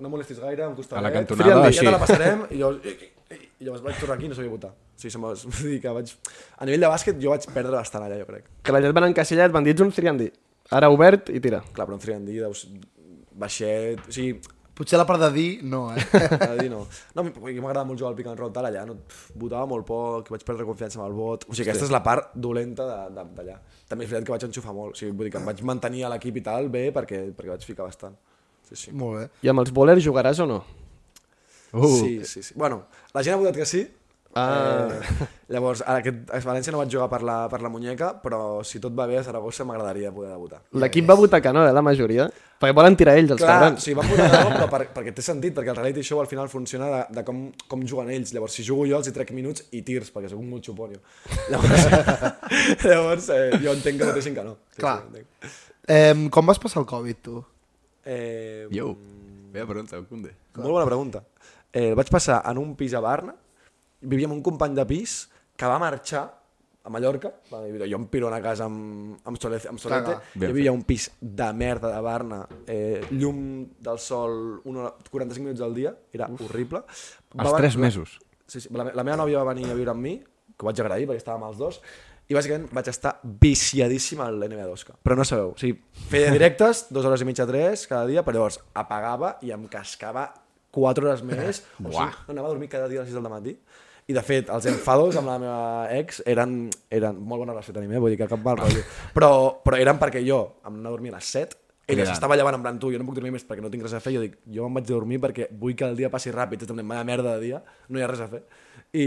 no molestis gaire, un costadet, A la cantonada, friendly, així. ja te la passarem, i llavors, i, i, i llavors vaig tornar aquí i no sabia votar. O sigui, se'm va, vull dir que vaig... A nivell de bàsquet jo vaig perdre bastant allà, jo crec. Que la llet van encasellar, et van dir, ets un triandi. Ara obert i tira. Clar, però en 3 deus baixet... O sigui, Potser la part de dir, no, eh? A dir, no. No, mi- perquè m'agrada molt jugar al pick and roll tal, allà no, pf, votava molt poc, vaig perdre confiança amb el vot. O sigui, aquesta és la part dolenta de- de- d'allà. També és veritat que vaig enxufar molt, o sigui, vull dir que em vaig mantenir a l'equip i tal bé perquè, perquè vaig ficar bastant. Sí, sí. Molt bé. I amb els bowlers jugaràs o no? Uh. Sí, sí, sí. Bueno, la gent ha votat que sí. Ah. Eh, llavors, a, aquest, a València no vaig jugar per la, per la muñeca, però si tot va bé a Saragossa m'agradaria poder debutar. L'equip va votar que no, eh, la majoria. Perquè volen tirar ells, els Clar, cabrons. sí, va posar raó, però per, perquè té sentit, perquè el reality show al final funciona de, de com, com juguen ells. Llavors, si jugo jo, els hi trec minuts i tirs, perquè soc un molt xupon, jo. Llavors, llavors eh, jo entenc que votessin que no. Sí, Clar. Sí, entenc. Eh, com vas passar el Covid, tu? eh, Yo. Vea pronto, Cunde. Molt bona pregunta. Eh, el vaig passar en un pis a Barna, vivia amb un company de pis que va marxar a Mallorca, va dir, jo em piro a una casa amb, amb, Solete, amb Solete Caga. Ben jo vivia a un pis de merda de Barna, eh, llum del sol una, hora- 45 minuts al dia, era Uf. horrible. Els Va- tres va- mesos. Sí, sí, la, me- la meva nòvia va venir a viure amb mi, que ho vaig agrair perquè estàvem els dos, i bàsicament vaig estar viciadíssim al NBA2K. Però no sabeu, o sigui, feia directes, dues hores i mitja, tres, cada dia, però llavors apagava i em cascava quatre hores més. o sigui, Buah. anava a dormir cada dia a les 6 del matí. I de fet, els enfados amb la meva ex eren, eren molt bona relació tenim, eh? vull dir que cap mal rotllo. Però, però eren perquè jo em anava a dormir a les 7, ella Cridant. s'estava llevant en plan tu, jo no puc dormir més perquè no tinc res a fer, jo dic, jo me'n vaig a dormir perquè vull que el dia passi ràpid, és una mala merda de dia, no hi ha res a fer. I,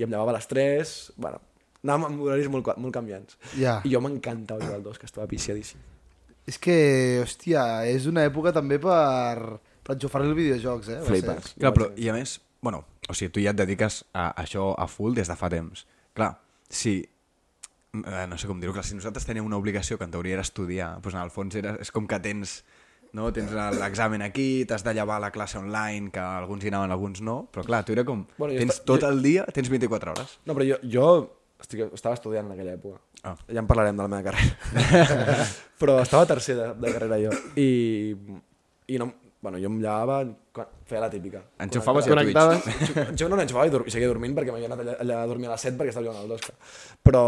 i em llevava a les 3, bueno, anàvem amb horaris molt, qua- molt canviants. Ja. I jo m'encantava jugar al 2, que estava viciadíssim. És que, hòstia, és una època també per, per enxufar-li els videojocs, eh? Va ser. Flipes. Clar, però, i a més, bueno, o sigui, tu ja et dediques a això a full des de fa temps. Clar, si eh, no sé com dir-ho, clar, si nosaltres teníem una obligació que en teoria era estudiar, doncs en el fons era, és com que tens no? tens l'examen aquí, t'has de llevar a la classe online, que alguns hi anaven, alguns no, però clar, tu era com, Bueno, bueno, jo tens esta- tot el dia, tens 24 hores. No, però jo, jo estic, estava estudiant en aquella època. Ah. Ja en parlarem de la meva carrera. però estava a tercer de, de carrera jo. I, i no, bueno, jo em llevava, quan- feia la típica. Enxufaves i a Twitch. Connectaves? Jo no n'enxufava i, dur- i seguia dormint perquè m'havia anat allà, allà a dormir a les 7 perquè estava jugant al Dosca. Però,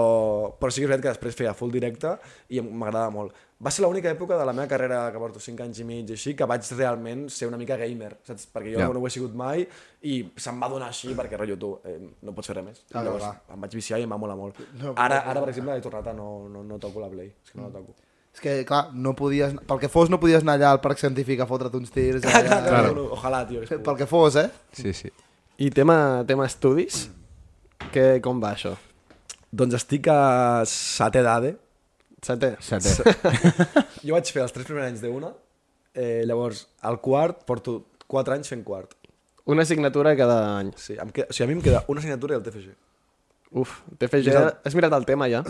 però sí que és veritat que després feia full directe i em- m'agradava molt. Va ser l'única època de la meva carrera que porto 5 anys i mig i així que vaig realment ser una mica gamer, saps? Perquè jo Ja. yeah. no ho he sigut mai i se'm va donar així perquè, rotllo, tu, eh, no pots fer res més. Clar, I llavors clar. em vaig viciar i em va molar molt. Ara, ara per exemple, he tornat a no, no, no toco la Play. És que no la toco. És que, clar, no podies, pel que fos no podies anar allà al Parc Científic a fotre't uns tirs. Allà, Claro. Ojalá, tio. hagués pogut. Pel que fos, eh? Sí, sí. I tema, tema estudis? Que, com va això? Doncs estic a setè d'ADE, Setè? Setè. Jo vaig fer els tres primers anys d'una, eh, llavors al quart porto 4 anys fent quart. Una assignatura cada any. Sí, em queda, o sigui, a mi em queda una assignatura i el TFG. Uf, TFG... Jo- Has mirat el tema ja?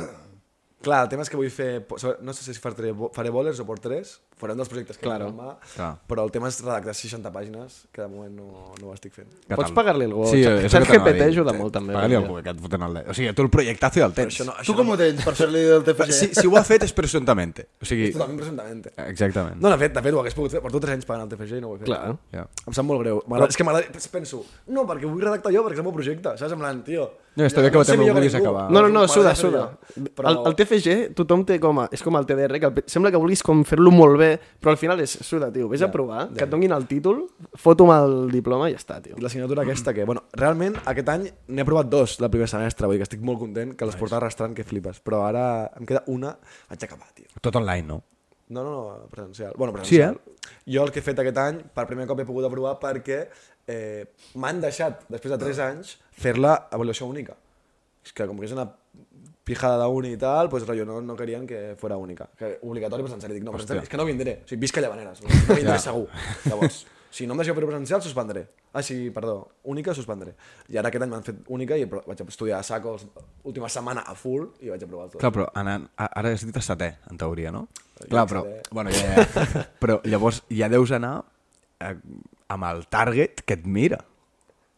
Clar, el tema és que vull fer... po- sobre- No sé si faré, bo- faré bowlers o por tres, faré un dels projectes que Claro. em demà, Clar. però el tema és redactar 60 pàgines, que de moment no, no ho estic fent. Què Pots tal? pagar-li algú. Sí, eh, Chat- és Chat el que t'anava a GPT dir. ajuda Sí, molt, també, eh? Pagar-li vull algú que et foten el dedo. O sigui, tu el projectazo ja el tens. Això no, això Tu com no... ho tens per fer-li el TFG? Si, si ho ha fet és presumptamente. O sigui, Totalment presumptament. Eh. exactament. No, de fet, de fet, ho hagués pogut fer. Porto 3 anys pagant el TFG i no ho he fet. Clar. Ja. Em sap molt greu. M'agrada- És que m'agrada... Penso, no, perquè vull redactar jo, perquè és el meu projecte. Saps? En plan, tio... No, està bé que ho sé també millor ho vulguis ningú. acabar. No, no, no, suda, M'agrada fer-ho suda. jo, Però... El, el TFG tothom té com a... És com el TDR, que el, sembla que vulguis com fer-lo molt bé, però al final és suda, tio. Vés Ja, a provar, ja. que et donguin el títol, foto'm el diploma i ja està, tio. I l'assignatura aquesta que, bueno, realment aquest any n'he aprovat dos del primer semestre, vull dir que estic molt content que les portava arrastrant que flipes, però ara em queda una, vaig acabar, tio. Tot online, no? No, no, no, presencial. Bueno, presencial. Sí, eh? Jo el que he fet aquest any, per primer cop he pogut aprovar perquè eh, m'han deixat, després de 3 anys, fer-la avaluació única. És que com que és una pijada d'uni i tal, pues, rotllo, no, no querien que fora única. Que obligatori presencial. I dic, no, presencial, és que no vindré. O sigui, visc a Llavaneres. No, no vindré segur. Llavors, si no em deixeu fer presencial, suspendré. Ah, sí, perdó, única, suspendré. I ara aquest any m'han fet única i apro- vaig estudiar a saco l'última setmana a full i vaig aprovar tot. Clar, però anant, a- ara has dit a setè, en teoria, no? Clar, però, bueno, ja, ja. però llavors ja deus anar eh, amb el target que et mira.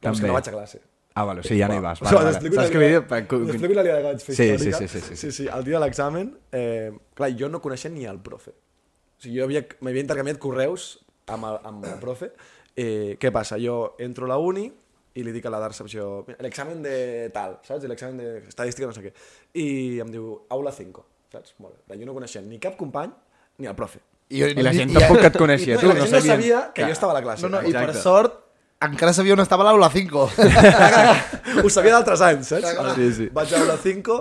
Clar, és que també. no vaig a clase. Ah, vale, o sigui, ja no hi vas. Vale, Vale, vale. vale. Saps què vull dir? Per- Us explico la liada que vaig fer Sí, sí, històrica. sí, sí, sí, sí. sí, sí. El dia de l'examen, eh, clar, jo no coneixia ni el profe. O sigui, jo havia, m'havia intercanviat correus amb el, amb el profe. Eh, què passa? Jo entro a la uni i li dic a la de recepció, "Mira, l'examen de tal, saps? I L'examen de estadística, no sé què. I em diu, aula 5, saps? Molt bé. Jo no coneixia ni cap company ni el profe. I, jo- I la gent i- tampoc et I coneixia, la tu, no gent no sabien. sabia que jo estava a la classe. No, no, i per Exacte. sort encara sabia on estava l'aula 5. Ho sabia d'altres anys, saps? Ara, Sí, sí. Vaig a la 5,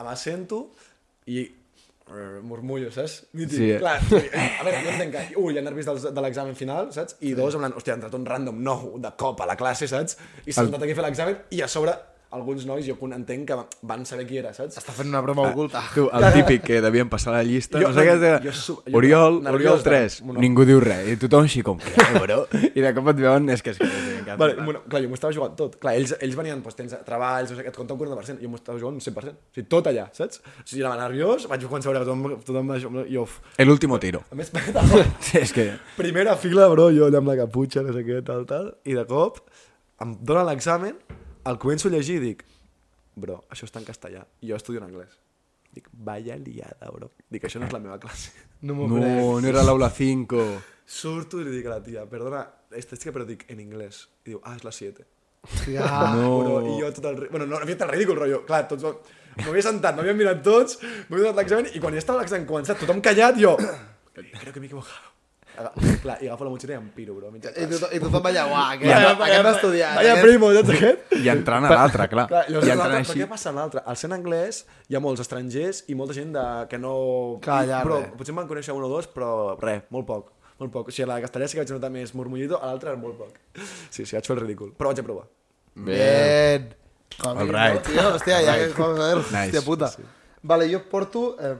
em assento i eh, murmullo, saps? Mític. Sí, eh? Clar, i, a veure, no entenc que... Un, hi ha nervis dels, de l'examen final, saps? I dos, en plan, hòstia, ha entrat un random nou de cop a la classe, saps? I s'ha sentat aquí a fer l'examen i a sobre alguns nois, jo entenc que van saber qui era, saps? Està fent una broma oculta. Tu, el típic que devien passar la llista, Ah, Jo- no sé què... De... jo su- jo Oriol, nerviós Oriol de- 3, ningú diu res, i tothom així com, què, bro? I de cop et veuen, és que... És que Vale, bueno, clar, jo m'ho estava jugant tot. Clar, ells, ells venien, doncs, tens treballs, no sé, què, et compta un 40%, jo m'ho estava jugant un 100%. O sigui, tot allà, saps? O sigui, anava nerviós, vaig començar a veure tothom, tothom això, jo... El último tiro. A més, perdó, Sí, és que... primera fila, bro, jo allà amb la caputxa, no sé què, tal, tal, i de cop em dona l'examen, el començo a llegir i dic, bro, això està en castellà, i jo estudio en anglès. Dic, vaya liada, bro. Dic, això no és la meva classe. No m'ho crec. No, no era l'aula 5. Surto i li dic a la tia, perdona, esta chica, però dic en anglès. I diu, ah, és la 7. Hòstia. No. Bueno, Ah, I jo tot el... ri- Bueno, no, no havia tan ridícul, rotllo. Clar, tots... M'havia sentat, m'havien mirat tots, m'havia donat l'examen i quan ja estava l'examen començat, tothom callat, jo... Creo que m'he equivocado. Aga- Clar, i agafo la motxilla i em piro, bro. Mitja I, classe. tothom, I tothom allà, uah, aquest, aquest, aquest estudiant. Vaya aquest- primo, saps aquest? I entrant a l'altre, clar. eh? Clar, I I llavors, entrant l'altre, però així... què passa en l'altre? Al ser en anglès hi ha molts estrangers i molta gent de, que no... Clar, allà, però, res. potser em van conèixer un o dos, però res, molt poc. Molt poc. O sigui, a la de castellà sí que vaig notar més murmullito, a l'altra molt poc. Sí, sí, vaig fer el ridícul. Però vaig aprovar. Bien. Com All All right. right. No, tio, hòstia, ja que com a veure, Nice. hòstia puta. Vale, jo porto... Eh,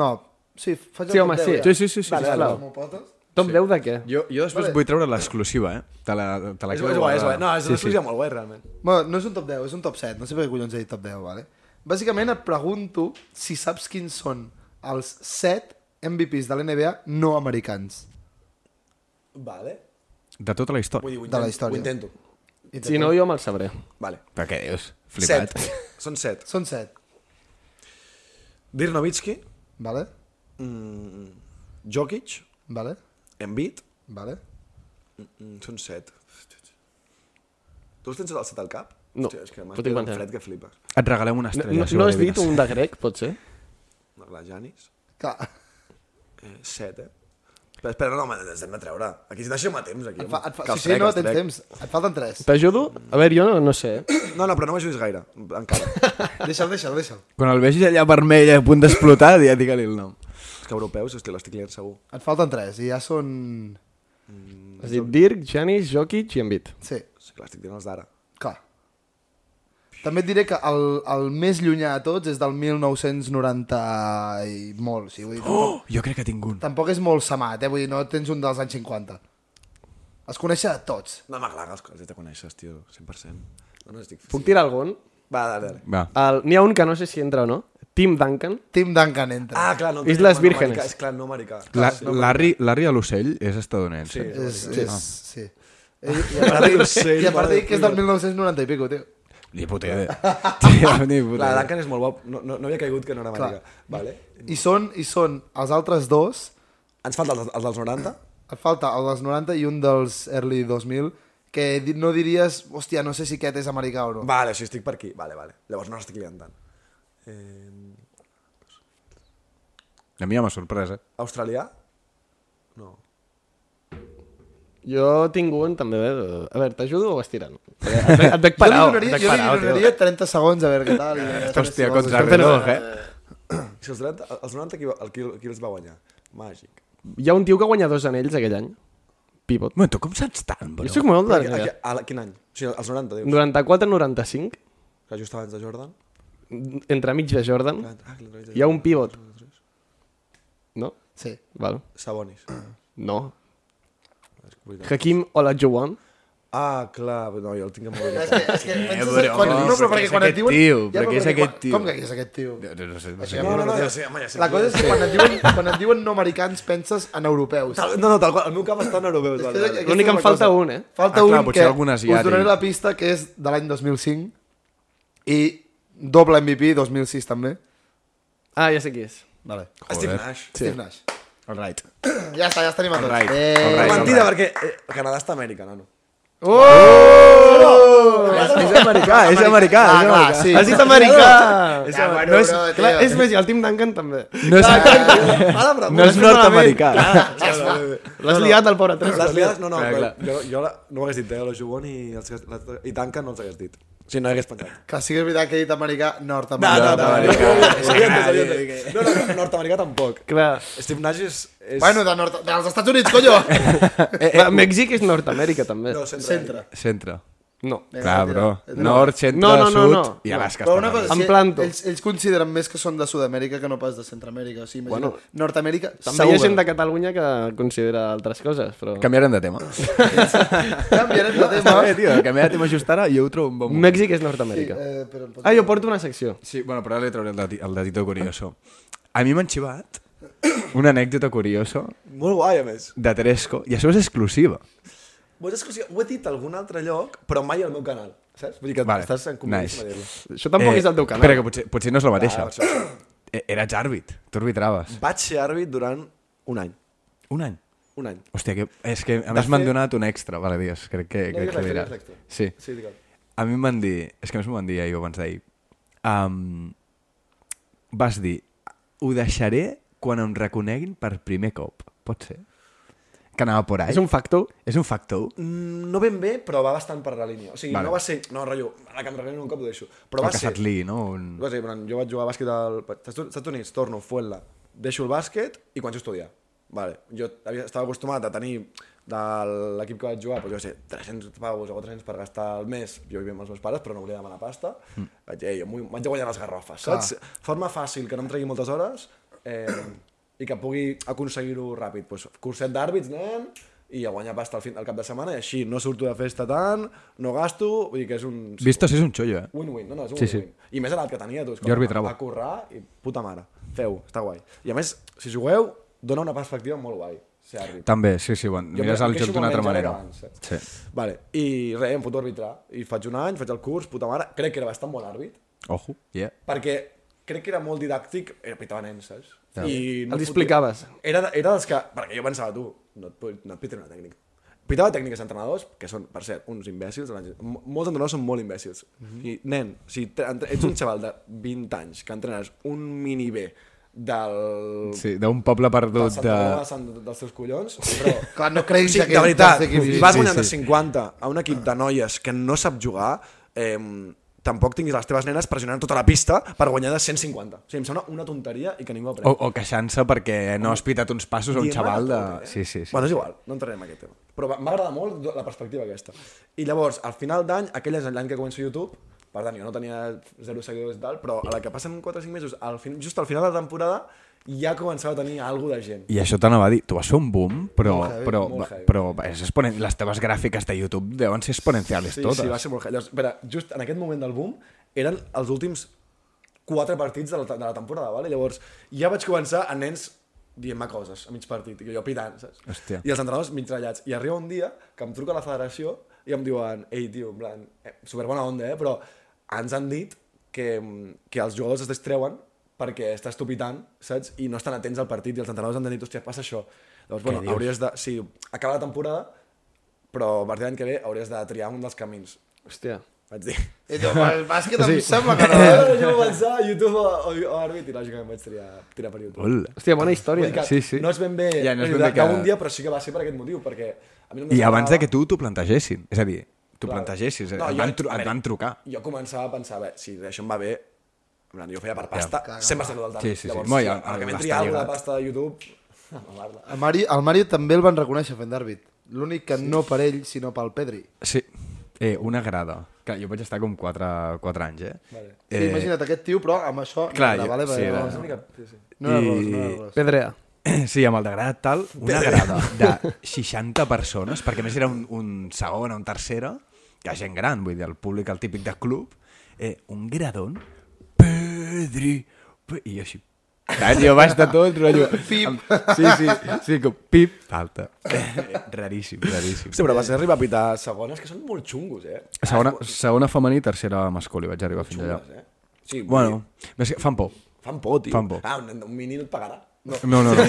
no, sí, faig el Sí, home, top sí. 10 ja. Sí, sí, sí, sí, Vale, sisplau. vale, m'ho potes? Top 10 de què? Jo, jo després Vale. vull treure l'exclusiva, eh? Te la, te la És, quedo és guai, és guai. guardada. No, és una excusa molt guai, realment. Bueno, no és un top 10, és un top 7. No sé per què collons he dit top 10, vale? Bàsicament et pregunto si saps quins són els 7 MVPs de l'NBA no americans. Vale. De tota la història. Vull dir, ho De la intento, història. Ho intento. Si no, jo me'l sabré. Vale. Però què dius? Flipat. Set. Són set. Són 7, Dirk Nowitzki, vale? mm, Jokic, Vale? Embiid, Vale? mm, són set. Tu els tens el set al cap? No. Hòstia, és que Ho m'has tinc pegat un pensat. fred que flipes. Et regalem No, una estrella. no, si no has dit l'adevines. un de grec, potser? No, clar, Janis, Clar, eh, set, eh? Però espera, no, home, ens hem de treure. Aquí deixeu-me temps, aquí. et fa, et fa, Que sí, els sí, trec, no, els tens trec. temps. Et falten 3. T'ajudo? A veure, jo no, no sé. eh? No, no, però no m'ajudis gaire, encara. Deixa'l, deixa'l, deixa'l. Quan el vegis allà vermell a punt d'explotar, ja digue-li el nom. és que europeus, hosti, l'estic liant segur. Et falten 3 i ja són... Has dit Dirk, Janis, Jokic i Embiid. Sí. Sí, que l'estic liant els d'ara. Clar. També et diré que el, el més llunyà de tots és del 1990 i molt, sí, vull dir, tampoc, Oh, jo crec que tinc un. tampoc és molt samat, eh? Vull dir, no tens un dels anys 50. Es coneix de tots. No, home, clar, els has de coneixes, tio, 100%. No, no, estic... Puc tirar algun? Va, dale, dale. Va. El- N'hi ha un que no sé si entra o no. Tim Duncan. Tim Duncan entra. Ah, clar, no. Islas no, no, Vírgenes. americà, És clar, no americà. La, Larry, Larry a l'ocell és estadounidense. Sí. és, és, sí. I, i, a Ara part, ho sé, I a part mare de dir que és del de 1990 i pico, tio. Ni puta idea. Tio, ni puta Clar, idea. Duncan és molt bo. No, no, no havia caigut que no era americà. Vale. I són, I són els altres dos, Ens falta el, el dels 90? et falta el dels 90 i un dels early 2000, que di- no diries, hòstia, no sé si aquest és americà o no. Vale, o sigui, estic per aquí. Vale, vale. Llavors no estic liant tant. Eh, A mi ja m'ha sorprès, eh? australià? No. Jo tinc un, també. eh? A veure, t'ajudo o vas tirant? Et veig- Et veig parar, jo li et donaria, veig jo li parar, tio. donaria 30 segons a veure què tal. I Hòstia, Tres contra segons, reloj, eh? I si els 90, els 90 qui, va- el, qui, qui els va guanyar? Màgic. Hi ha un tio que guanya dos anells aquell any. Pivot. Bueno, tu com saps tant, Jo bro? soc molt de Però, a, l'NBA. a, a, quin any? O sigui, els 90, dius. 94-95, Que just abans de Jordan. entre mig de Jordan, Ah, clar, clar, clar. hi ha un pivot. No? Sí. Val. Sabonis. Ah, No. És veritat. Hakim Olajuwon. Ah, clar, no, jo el tinc molt És bé. que, és que penses, Eh, però, quan, home, no, però però què perquè és quan et aquest diuen... tio? Però però què és perquè aquest quan- tio? Com que què és aquest tio? No, no sé, no sé. Això No, no, no, ja ja sé, home, ja sé La qui cosa és. és que quan et diuen, quan et diuen no americans penses en europeus. Tal- No, no, tal qual. El meu cap està en europeus. És que Vale, és- vale. aquesta L'únic és que em la falta cosa. un, eh? Falta Ah, clar, un potser que algun asiàtic. us donaré la pista que és de l'any 2005 i doble MVP 2006 també. Ah, ja sé qui és. Vale. Steve Nash. Steve Nash. All right. Ja està, ja els tenim a tots. Eh, Alright, Bé. alright. Mentida, perquè eh, Canadà està a Amèrica, nano. Oh! És americà, Ah, Ah, és americà, és clar, americà. sí. Ah, Has dit americà! Ah, És Ja, amer- bueno, no és- bro, Clar, tio. és més, i el Tim Duncan també. No és, Mala no pregunta. és nord-americà. L'has liat, el pobre tres. Les liades, no, no, Clar, però clar. jo, jo la, no ho hagués dit, eh, lo jugón i, els, que- la- i tanca no els hagués dit. O sigui, no hagués pensat. Que sí que és veritat que he dit americà, No, nord-americà. no, no, no, no, no, no, nord-americà tampoc. Clar. Steve Nash és... és Bueno, de nord dels Estats Units, collo! Va, Mèxic és Nord-Amèrica, també. no, Centre. Centre. No. Clar, bro. tira. Nord, centre, No, no, no, sud no. i Alaska. Però està una per cosa, allà. sí, Em planto. ells, ells consideren més que són de Sud-amèrica que no pas de Centroamèrica. O sigui, imagina, Bueno. bueno, Nord-amèrica, També hi ha gent de Catalunya que considera altres coses, però... Canviarem de tema. Canviarem de tema. Bé, tio, canviar de tema just ara jo ho trobo un bon moment. Mèxic és Nord-Amèrica. Eh, però em pots- Ah, jo porto una secció. Sí, bueno, però ara li trauré el, dati- el datito curioso. A mi m'han xivat una anècdota curiosa Molt guai, a més. de Tresco, i això és exclusiva. Vos és que, o sigui, ho he dit a algun altre lloc, però mai al meu canal, saps? Vull dir que Vale, estàs en nice. Eh, convenció nice. dir-lo. Això tampoc és el teu canal. Però que potser, potser no és la mateixa. Ah, per això. Eh, Eres àrbit, tu arbitraves. Vaig ser àrbit durant Mm. un any. Un any. Un any. Hòstia, que, és que a més fet- m'han donat un extra, vale, dies, crec que, crec digues que extra, diràs. digues extra. Sí. Sí, digue'm. A mi em van dir, és que a més m'ho van dir ahir o abans d'ahir, um, vas dir, ho deixaré quan em reconeguin per primer cop, pot ser? Que anava por ahí. És un factor. És un factor? Mm, No ben bé, però va bastant per la línia. O sigui, vale. Vale. no va ser... No, rotllo, a la que em regalen un cop ho deixo. Però Però va que ser... Satlí, no? Un... Va ser, bueno, jo vaig jugar a bàsquet al... Estats Estats Units, torno, Fuenla, deixo el bàsquet i començo a estudiar. Vale. Jo havia, estava acostumat a tenir de l'equip que vaig jugar, doncs jo què sé, 300 pavos o 400 per gastar al mes, jo vivia amb els meus pares, però no volia demanar pasta, mm. vaig dir, "Ei, em vull- m'haig de guanyar les garrofes, saps? Forma fàcil, que no em tregui moltes hores eh, i que pugui aconseguir-ho ràpid. Pues, curset d'àrbits, nen, i a guanyar pasta al, fin, al cap de setmana, i així no surto de festa tant, no gasto, vull dir que és un... Vistos és un xollo, eh? Win-win, no, no, és un Sí, sí, sí. win-win. Sí. I més a l'edat que tenia, tu. és com, Jo arbitrava. A currar i puta mare. Feu, està guai. I a més, si jugueu, dona una perspectiva molt guai. Ser àrbit. També, sí, sí, bueno, Jo mires em el queixo joc d'una molt altra menys ara manera. que abans, eh? Sí. saps? Vale, i res, em foto a arbitrar. I faig un any, faig el curs, puta mare. Crec que era bastant bon àrbit, Ojo, yeah. perquè crec que era molt didàctic, era pitava nens, saps? Ja. I Els fotia- explicaves. Era, de- era dels que, perquè jo pensava, tu, no et, pu- no et pitaré una tècnica. Pitava tècniques d'entrenadors, que són, per cert, uns imbècils. la gent- mo- Molts entrenadors són molt imbècils. Mhm. I, nen, si te- entre- ets un xaval de 20 anys que entrenes un mini B del... Sí, d'un poble del perdut Santa de... Coloma de Sant- dels seus collons, però... Clar, no creguis o sigui, que de veritat, pots ser qui vas sí, guanyant sí. de 50 a un equip de noies que no sap jugar, eh, tampoc tinguis les teves nenes pressionant tota la pista per guanyar de 150. O sigui, em sembla una tonteria i que ningú aprèn. O, o queixant-se perquè no has pitat uns passos a un Diem xaval de... ara tot, eh? Sí, sí, sí. Bueno, és igual, no entrarem en aquest tema. Però va- m'agrada molt do- la perspectiva aquesta. I llavors, al final d'any, aquell és l'any que començo a YouTube, per tant, jo no tenia zero seguidors i tal, però a la que passen 4 o 5 mesos, al fin, just al final de la temporada, ja començava a tenir alguna de gent. I això t'anava a dir, tu vas fer un boom, però, heavy, però, molt heavy. però és exponen... les teves gràfiques de YouTube deuen ser exponenciales Sí, totes. sí, va ser molt... heavy. Llavors, espera, just en aquest moment del boom, eren els últims 4 partits de la, de la temporada, vale? llavors ja vaig començar a nens dient-me coses a mig partit, i jo pitant, saps? Hòstia. I els entrenadors mig ratllats. I arriba un dia que em truca la federació i em diuen, ei, tio, en plan, eh, superbona onda, eh? però ens han dit que, que els jugadors es distreuen perquè estàs tu pitant, saps? I no estan atents al partit i els entrenadors han dit, hòstia, passa això. Llavors, bueno, hauries de... Sí, acaba la temporada, però a partir de l'any que ve hauries de triar un dels camins. Hòstia. Vaig dir. I diu, el bàsquet em sembla Eh. que no. Ah, jo vaig pensar a YouTube o, o, o Arbit i lògicament vaig triar, tirar per YouTube. Ol. Hòstia, bona Vull dir història. que Sí, sí. No és ben bé, Ja, no és ben de- bé que- d'un dia, però sí que va ser per aquest motiu, perquè... A mi no I abans de que tu t'ho plantegessin, és a dir, t'ho Clar. plantegessis, No, no, et, jo van vaig- tru a et veure, van trucar. Jo començava a pensar, bé, si això em va bé, en plan, jo feia per pasta, Caga. sempre estic del tant. Sí, sí, sí. Llavors, Bueno, ja- ja, ara que l'està m'he triat alguna lligat. de pasta de YouTube, a mamarla. El Mari, el Mari també el van reconèixer fent d'àrbit. L'únic que sí. no per ell, sinó pel Pedri. Sí, eh, una grada. Clar, jo vaig estar com 4, 4 anys, eh? Vale. Eh... Sí, imagina't aquest tio, però amb això... Clar, no, jo- vale, sí, vale, eh, no, És era- no, l'única... Sí, sí. no, era ros, I- no, era ros. Pedrea. Sí, amb el degradat tal, una grada de 60 persones, perquè a més era un, un segon o un tercera, que era gent gran, vull dir, el públic, el típic de club, eh, un gradon, Pedri, Pe- i jo així, saps? Jo baix de tot, rotllo. Pip. Amb- Sí, sí, sí, com pip, falta. Eh, raríssim, raríssim. Ah, Hòstia, però va ser arribar a pitar segones, que són molt xungos, eh? Segona, segona femení, tercera masculí, vaig arribar fins allà. Xungos, eh? Sí, bueno. Bueno, més que fan por. Fan por, tio. Fan por. Ah, un, un mini no et pagarà. No. No, no, no.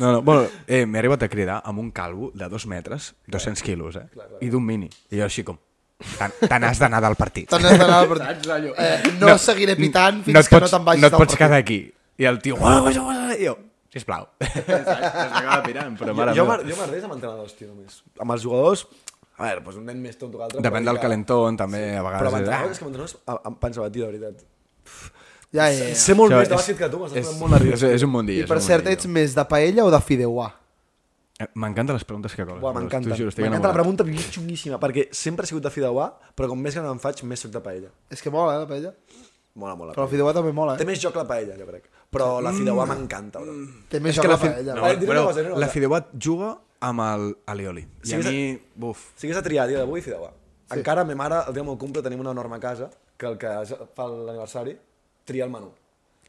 no, no. Bueno, eh, m'he arribat a cridar amb un calvo de dos metres, 200 quilos, eh? I d'un mini. I jo així com... Te- Te n'has d'anar del partit. T'has d'anar al partit. Eh, no, seguiré pitant fins no et que no pots- te'n vagis No et del pots partit. quedar aquí. I el tio... "Uah, uah, uah", I jo, sisplau. S'acaba pirant, però Jo, jo, m'ar- jo m'arreix amb entrenadors, tio, només. Amb els jugadors, a veure, doncs un nen més tonto que l'altre. Depèn però del digue- calentón, també, a Però amb vegades. entrenadors, és és- Ah. que amb entrenadors a- em pensa batir, de veritat. Ja, ja, ja. Sé molt Eh, Això més de és- bàsquet que tu, m'estàs és- donant molt nerviós. És, és un mundillo. Eh, I per cert, ets més de paella o de fideuà? M'encanten les preguntes que coles. Buah, bros, m'encanta. t'ho juro, estic M'encanta la enamorat. pregunta, perquè és xunguíssima, perquè sempre he sigut de fideuà, però com més gran em faig, més soc de paella. És que mola, eh, la paella? Mola, mola. Però el fideuà també mola, Té eh? més joc la paella, jo crec. Però la fideuà m'encanta, bro. Té més És que joc la la fi- paella. no, bro. eh, diré una Bueno, cosa, diré una la cosa. Fideuà juga amb el Alioli. I Sí, a és- mi, buf, Si hagués de triar a dia d'avui, fideuà. Encara, ma mare, el dia del meu cumple, tenim una enorme casa, que el que es- fa l'aniversari, tria el menú.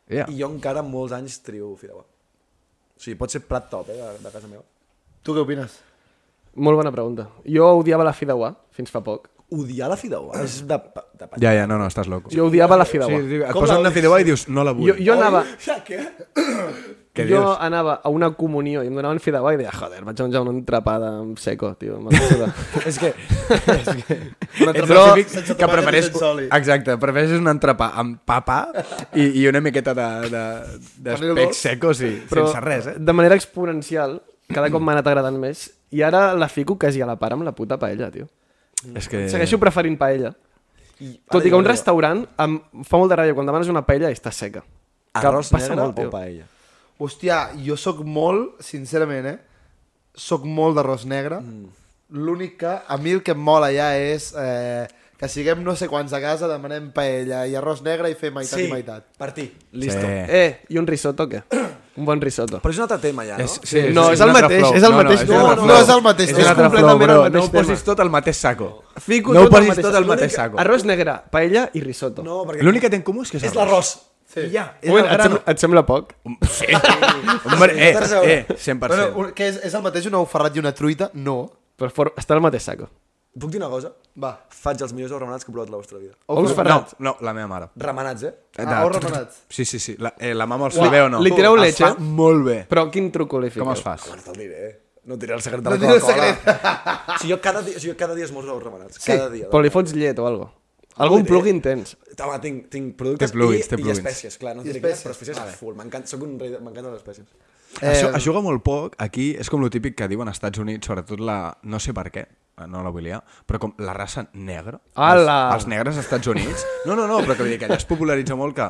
ja. I jo encara amb molts anys trio fideuà. O sigui, pot ser plat top, eh, de, de casa meva. Tu què opines? Molt bona pregunta. Jo odiava la fideuà fins fa poc. Odiar la fideuà és de, pa- de pa- Ja, ja, no, no, estàs loco. Jo odiava la Sí, fideuà. sí, et Com posen la una odies? fideuà i dius, no la vull. Jo, jo anava... Ja, què? Què jo dius? anava a una comunió i em donaven fideuà i deia, joder, vaig menjar una entrapada amb seco, tio. me la suda." és que... Un Ets entrepà el típic típic que prefereix... sense oli. Exacte, prefereixes un entrepà amb papa i, i una miqueta tota de, de, dolç. d'especs secos i Però sense res, eh? de manera exponencial, cada cop m'ha anat agradant més i ara la fico quasi a la part amb la puta paella, tio. És que... Segueixo preferint paella. Tot i que un restaurant em fa molt de ràbia quan demanes una paella i està seca. Que Arròs passa negre molt, o tio. paella? Hòstia, jo sóc molt, sincerament, eh? Sóc molt d'arròs negre. L'únic que... A mi el que em mola ja és... Eh, que siguem no sé quants a casa, demanem paella i arròs negre i fem meitat sí. i meitat. Partir. Listo. Sí. Sí. Eh, i un risotto, què? Un bon risotto. Però és un altre tema ja, no? És- sí, No, és el un altre mateix, flow. és el mateix, un no, altre no, flow. és el mateix, és un altre completament flow, bro. el mateix No ho posis tema. tot al mateix saco. Fico no ho tot al posis mateix tot saco. al mateix saco. Arròs negre, paella i risotto. No, perquè... L'únic que té en comú és que és, És l'arròs. Sí. I ja. Un moment, et, sembla, et sembla poc? Sí. Hombre, eh, Estàs a veure. eh, 100%. Bueno, un- què és, és el mateix un ou ferrat i una truita? No. Però for... està al mateix saco. Puc dir una cosa? Va. Faig els millors ous remenats que he provat la vostra vida. Ous Ous no, ferrats. no, la meva mare. Remenats, eh? Ah, De- ous remenats. Sí, sí, sí. La, eh, la mama els flibeu o no? Li tireu Els leche? fa molt bé. Però quin truc li fiqueu? Com els fas? Bueno, te'l diré, eh? No et diré el secret de la No diré el Coca-Cola. O sigui, jo cada dia, o sigui, jo cada dia es molts ous remenats. Sí, Cada dia. però li fots llet o algo. Algun diré. plugin tens. Home, tinc, tinc productes Té plugins, i, té i plugins. espècies, clar. No I diré quines, però espècies. espècies vale. full. M'encanta, soc un rei, de- m'encanten les espècies. Eh... Això, es juga molt poc. Aquí és com lo típic que diuen als Estats Units, sobretot la... No sé per què, eh, no la vull liar, però com la raça negra. Ala! Els, els negres als Estats Units. No, no, no, però que vull dir que allà es popularitza molt que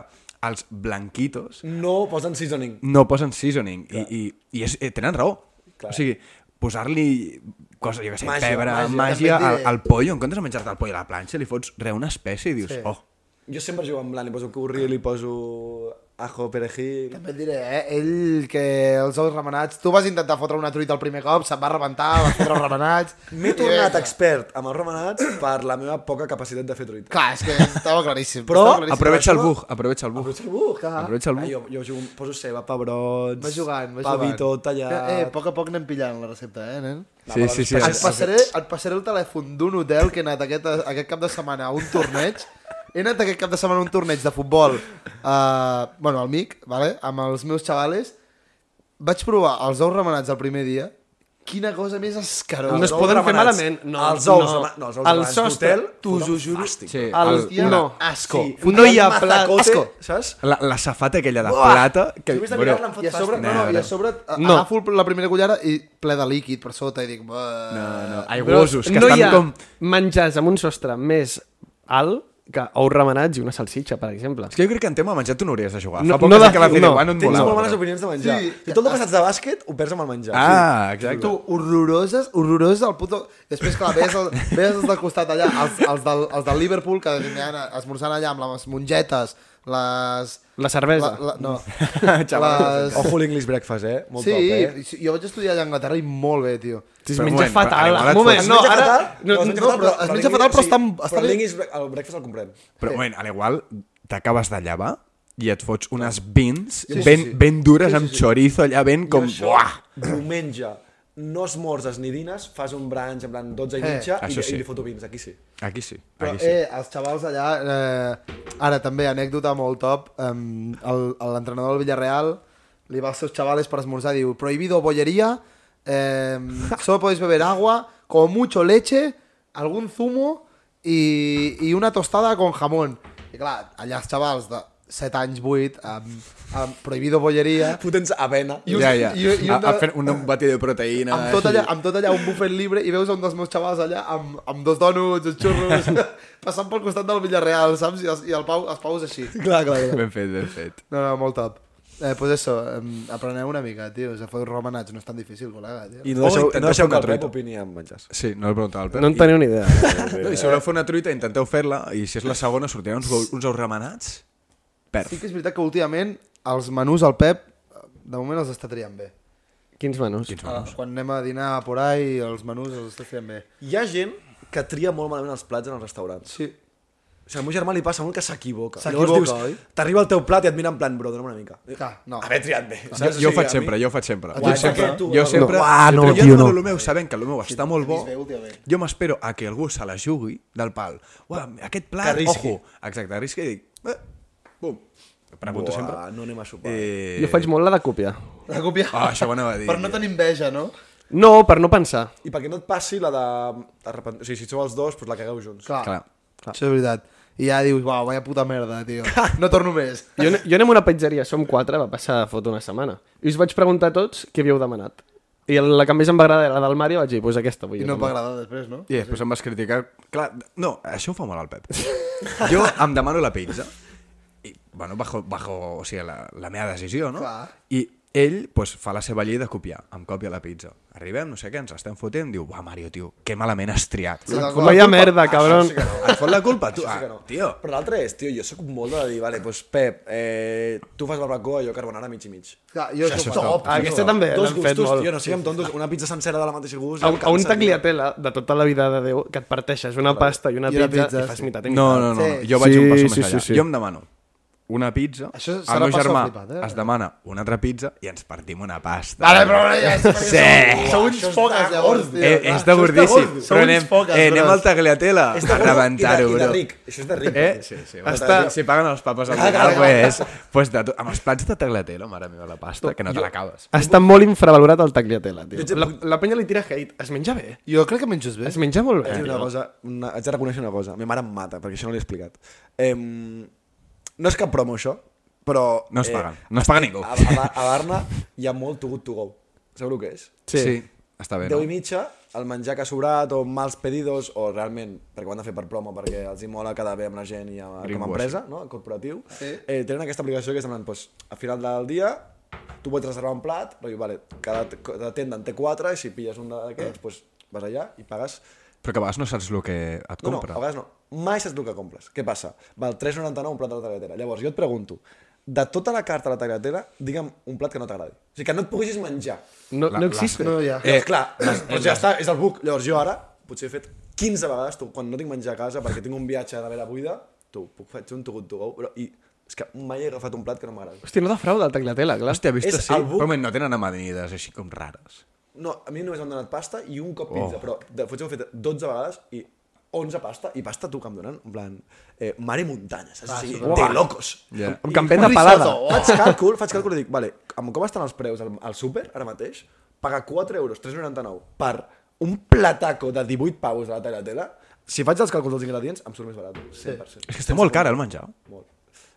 els blanquitos No posen seasoning. no posen seasoning. I, i, i és, eh, tenen raó. Clar. O sigui, posar-li cosa, jo què sé, Màgia, màgia, pebre, màgia. màgia, També màgia et al, diré. al pollo, en comptes de menjar-te el pollo a la planxa, li fots re una espècie i dius, sí. oh, Jo sempre jugo amb blanc, li poso curri, li poso ajo, perejil... També et diré, eh? Ell que els ous remenats... Tu vas intentar fotre una truita el primer cop, se't va rebentar, vas fotre els remenats... M'he i tornat vinga. expert amb els remenats per la meva poca capacitat de fer truita. Clar, és que estava claríssim. Però estava claríssim. aprovecha el bug, aprovecha el bug. Potser algú, clar. Aprovecha Ah, el bug. jo, jo jugo, poso ceba, pebrots... Va jugant, va pa jugant. vitó tallat... Eh, a poc a poc anem pillant la recepta, eh, nen? Sí, sí, sí. Et és- passaré, et passaré el telèfon d'un hotel que he anat aquest, aquest cap de setmana a un torneig. He anat aquest cap de setmana a un torneig de futbol, eh, bueno, al MIC, vale? amb els meus xavales. Vaig provar els ous remenats el primer dia. Quina cosa més escarosa. No es poden fer malament. No, els ous, no. rema- no, els ous El remenats sostre, d'hotel, t'ho foten juro. fàstic. Sí, El, el, Hòstia, no. asco. Sí, Ah, Un no hi ha un plat. mazacote, Asco. Saps? La, la safata aquella de Buah! plata... Si ho Que, vist de bueno, mirar-la em fot I a sobre, fàstic. no, no, i a sobre no. No. agafo el- la primera cullera i ple de líquid per sota i dic... No, no. aigüosos, que no estan hi ha com... menjars amb un sostre més alt que ous remenats i una salsitxa, per exemple. És que jo crec que en tema menjar tu no hauries de jugar. No- Fa poc no no, de- que la no. Fideuà no, et Tens volava. molt bones opinions de menjar. Sí. I tot el que saps de bàsquet ho perds amb el menjar. Ah, exacte. Tu, horroroses, horroroses el puto... Després, clar, veies, el, veies els del costat allà, els, els, del, els del Liverpool que anaven esmorzant allà amb les mongetes, les... La cervesa. La, la, no. Xavales, les... Ojo l'English breakfast, eh? Molt sí, top, eh? sí, jo vaig estudiar allà a Anglaterra i molt bé, tio. Si es Però un menja moment, fatal. però a Un l'igualat moment, fots- no, Es menja ara... fatal? No, es menja no, fatal, però- es menja fatal, però sí, estan- Però estan- l'English bre- el breakfast el comprem. Però, bueno, a l'igual t'acabes de llevar i et fots unes beans sí, ben, sí. ben dures amb chorizo allà ben com... Això, Buah! Diumenge, no esmorzes ni dines, fas un brunch en plan 12 i Eh, mitja i, això sí. i li foto vins, aquí sí. Aquí sí, Però, aquí sí. eh, els xavals allà... Eh, ara, també, anècdota molt top. Um, L'entrenador del Villarreal li va als seus xavales per esmorzar, diu, prohibido bollería, eh, solo podéis beber agua, como mucho leche, algún zumo i, i una tostada con jamón. I clar, allà els xavals de 7 anys, 8, amb, amb prohibido bolleria, Fotents avena. I un- ja, ja. i un- i un A- a de- fer un batido de proteïna. amb tot, allà, amb tot allà un bufet libre i veus a un dels meus xavals allà amb, amb dos dònuts, uns xurros, passant pel costat del Villarreal, saps? I, els, i el Pau, els Paus així. Clar, clar, clar. Ben fet, ben fet. No, no, molt top. Eh, pues eso, em, apreneu una mica, tio. Se feu romanats, no és tan difícil, col·lega, tio. I O no deixeu, intentar no deixeu fer que una Oh, el Pep truita. opini amb menjars. Sí, no el preguntava al Pep. No en teniu ni idea. No, I si voleu fer una truita, intenteu fer-la, i si és la segona, sortiran uns, bou- uns ous remenats. Perf. Sí que és veritat que últimament els menús al Pep, de moment els està triant bé. Quins menús? Quins Ah, bons. quan anem a dinar a por ahí, els menús els està triant bé. Hi ha gent que tria molt malament els plats en els restaurants. Sí. O sigui, al meu germà li passa molt que s'equivoca. S'equivoca, Llavors oi? dius, t'arriba el teu plat i et mira en plan, bro, dona'm una mica. Clar, no. Haver triat bé. Jo, saps? O jo ho sigui, faig a mi- sempre, jo ho faig sempre. Guai, jo sempre, perquè tu, jo no. sempre, No. ah, no, no, sempre tio, jo demano no. el meu, sabent que el meu està molt bo, bé, últimament. jo m'espero a que algú se la jugui del pal. Uah, aquest Que plat, arrisqui. ojo. Exacte, arrisca i dic, eh, bum. Pregunto Buah, sempre. No anem a sopar. Eh, Jo faig molt la de copiar. La copia... Ah, això ho anava a dir. Per no tenir enveja, no? No, per no pensar. I perquè no et passi la de... arrepen- O sigui, si sou els dos, doncs la cagueu junts. Clar. Clar. Això és veritat. I ja dius, uau, vaya puta merda, tio. No torno més. Jo, an- jo anem a una petgeria, som quatre, va passar fot una setmana. I us vaig preguntar a tots què havíeu demanat. I la que més em va agradar era la del Mario, vaig dir, pues aquesta vull I jo no et va també." agradar després, no? I després em vas criticar... Clar, no, això ho fa molt el Pep. Jo em demano la pizza. I, bueno, bajo, bajo o sigui, la, la meva decisió, no? Clar. I ell pues, fa la seva llei de copiar. Em copia la pizza. Arribem, no sé què, ens estem fotent, diu, va, Mario, tio, que malament has triat. Sí, d'acord. Vaya merda, cabron. Això sí que no. Et fot la culpa, tu. Això sí que Ah, no. tio. Però l'altre és, tio, jo sóc molt de dir, vale, doncs Pep, eh, tu fas barbacoa, jo carbonara mig i mig. Clar, jo això, Això això és top. top. Aquesta també Dos l'han fet gustos, molt. tio, no siguem tontos, una pizza sencera de la mateixa gust. A, em un- a un cansa, tio. tagliatella de tota la vida de Déu que et parteixes una pasta i una I una pizza, pizza, i fas sí. meitat i No, meitat. no, no, no. Sí. jo vaig un Sí, passo sí, més sí, allà. sí. Jo em demano una pizza, Això serà el meu passa germà flipat, eh? es demana una trepitza i ens partim una pasta. Vale, però ara ja és perquè Sí. sou- Sou Això uns és foques, de llavors, gordo. tio. Eh, Clar, és de això gordíssim, gordo. Sou però uns anem, foques, eh, anem bros. al Tagliatella És de a gordo i de- rebentar-ho, I de bro. ric, això és de ric. Eh? també. Sí, sí, Està- Ah, Està... Si paguen els papes al Clar, clar, final, Ah, pues, pues de tot, amb els plats de Tagliatella, mare meva, la pasta, que no te l'acabes. Està molt infravalorat el tagliatella, tio. Jo- La, la penya li tira hate. Es menja bé. Jo crec que menjo bé. Es menja molt bé. Vaig dir Eh, una tio. cosa, una, haig de reconèixer una cosa. Ma mare em mata, perquè això no l'he explicat. Eh, no és cap promo, això, però... eh, No es paguen, no es paga ningú. A, a, Bar- a Barna hi ha molt to good to go. Sabeu el que és? Sí. Sí, està bé, 10 i no? mitja, el menjar que ha sobrat, o mals pedidos, o realment, perquè ho han de fer per promo, perquè els hi mola quedar bé amb la gent i a, com a Greenwashing. empresa, no? corporatiu, Sí. eh, tenen aquesta aplicació que és en plan, doncs, a final del dia, tu pots reservar un plat, però, vale, cada, cada tenda en té 4, i si pilles un Ah. d'aquests, doncs, vas allà i pagues Però que a vegades no saps el que et no, no, a compra. vegades no. Mai saps el que compres. Què passa? Val 3,99 un plat de la tagliatella. Llavors, jo et pregunto, de tota la carta de la tagliatella, digue'm un plat que no t'agradi. O sigui, que no et puguis menjar. No, La- no existe. No, ja. Llavors, clar, Eh, doncs ja està, és el buc. Llavors, jo ara, potser he fet 15 vegades, tu, quan no tinc menjar a casa perquè tinc un viatge de vela buida, tu, puc fer un tugut to go, però i, és que mai he agafat un plat que no m'agradi. Hòstia, no defrauda el tagliatella, clar. Hòstia, vist És sí? el buc. Però home, no tenen amanides així com rares. No, a mi només m'han donat pasta i un cop pizza, Oh. però de, potser ho he fet 12 vegades i 11 pasta, i pasta tu que em donen, en plan, eh, mare i muntanya, saps? Ah, sí, de locos. Ja. Amb campeta pelada. Faig càlcul, faig càlcul i dic, vale, amb com estan els preus al, al súper ara mateix, pagar 4 euros, 3,99 per un plataco de 18 pavos de la tagliatella, si faig els càlculs dels ingredients, em surt més barat, 100%. És que està molt cara el menjar. Molt.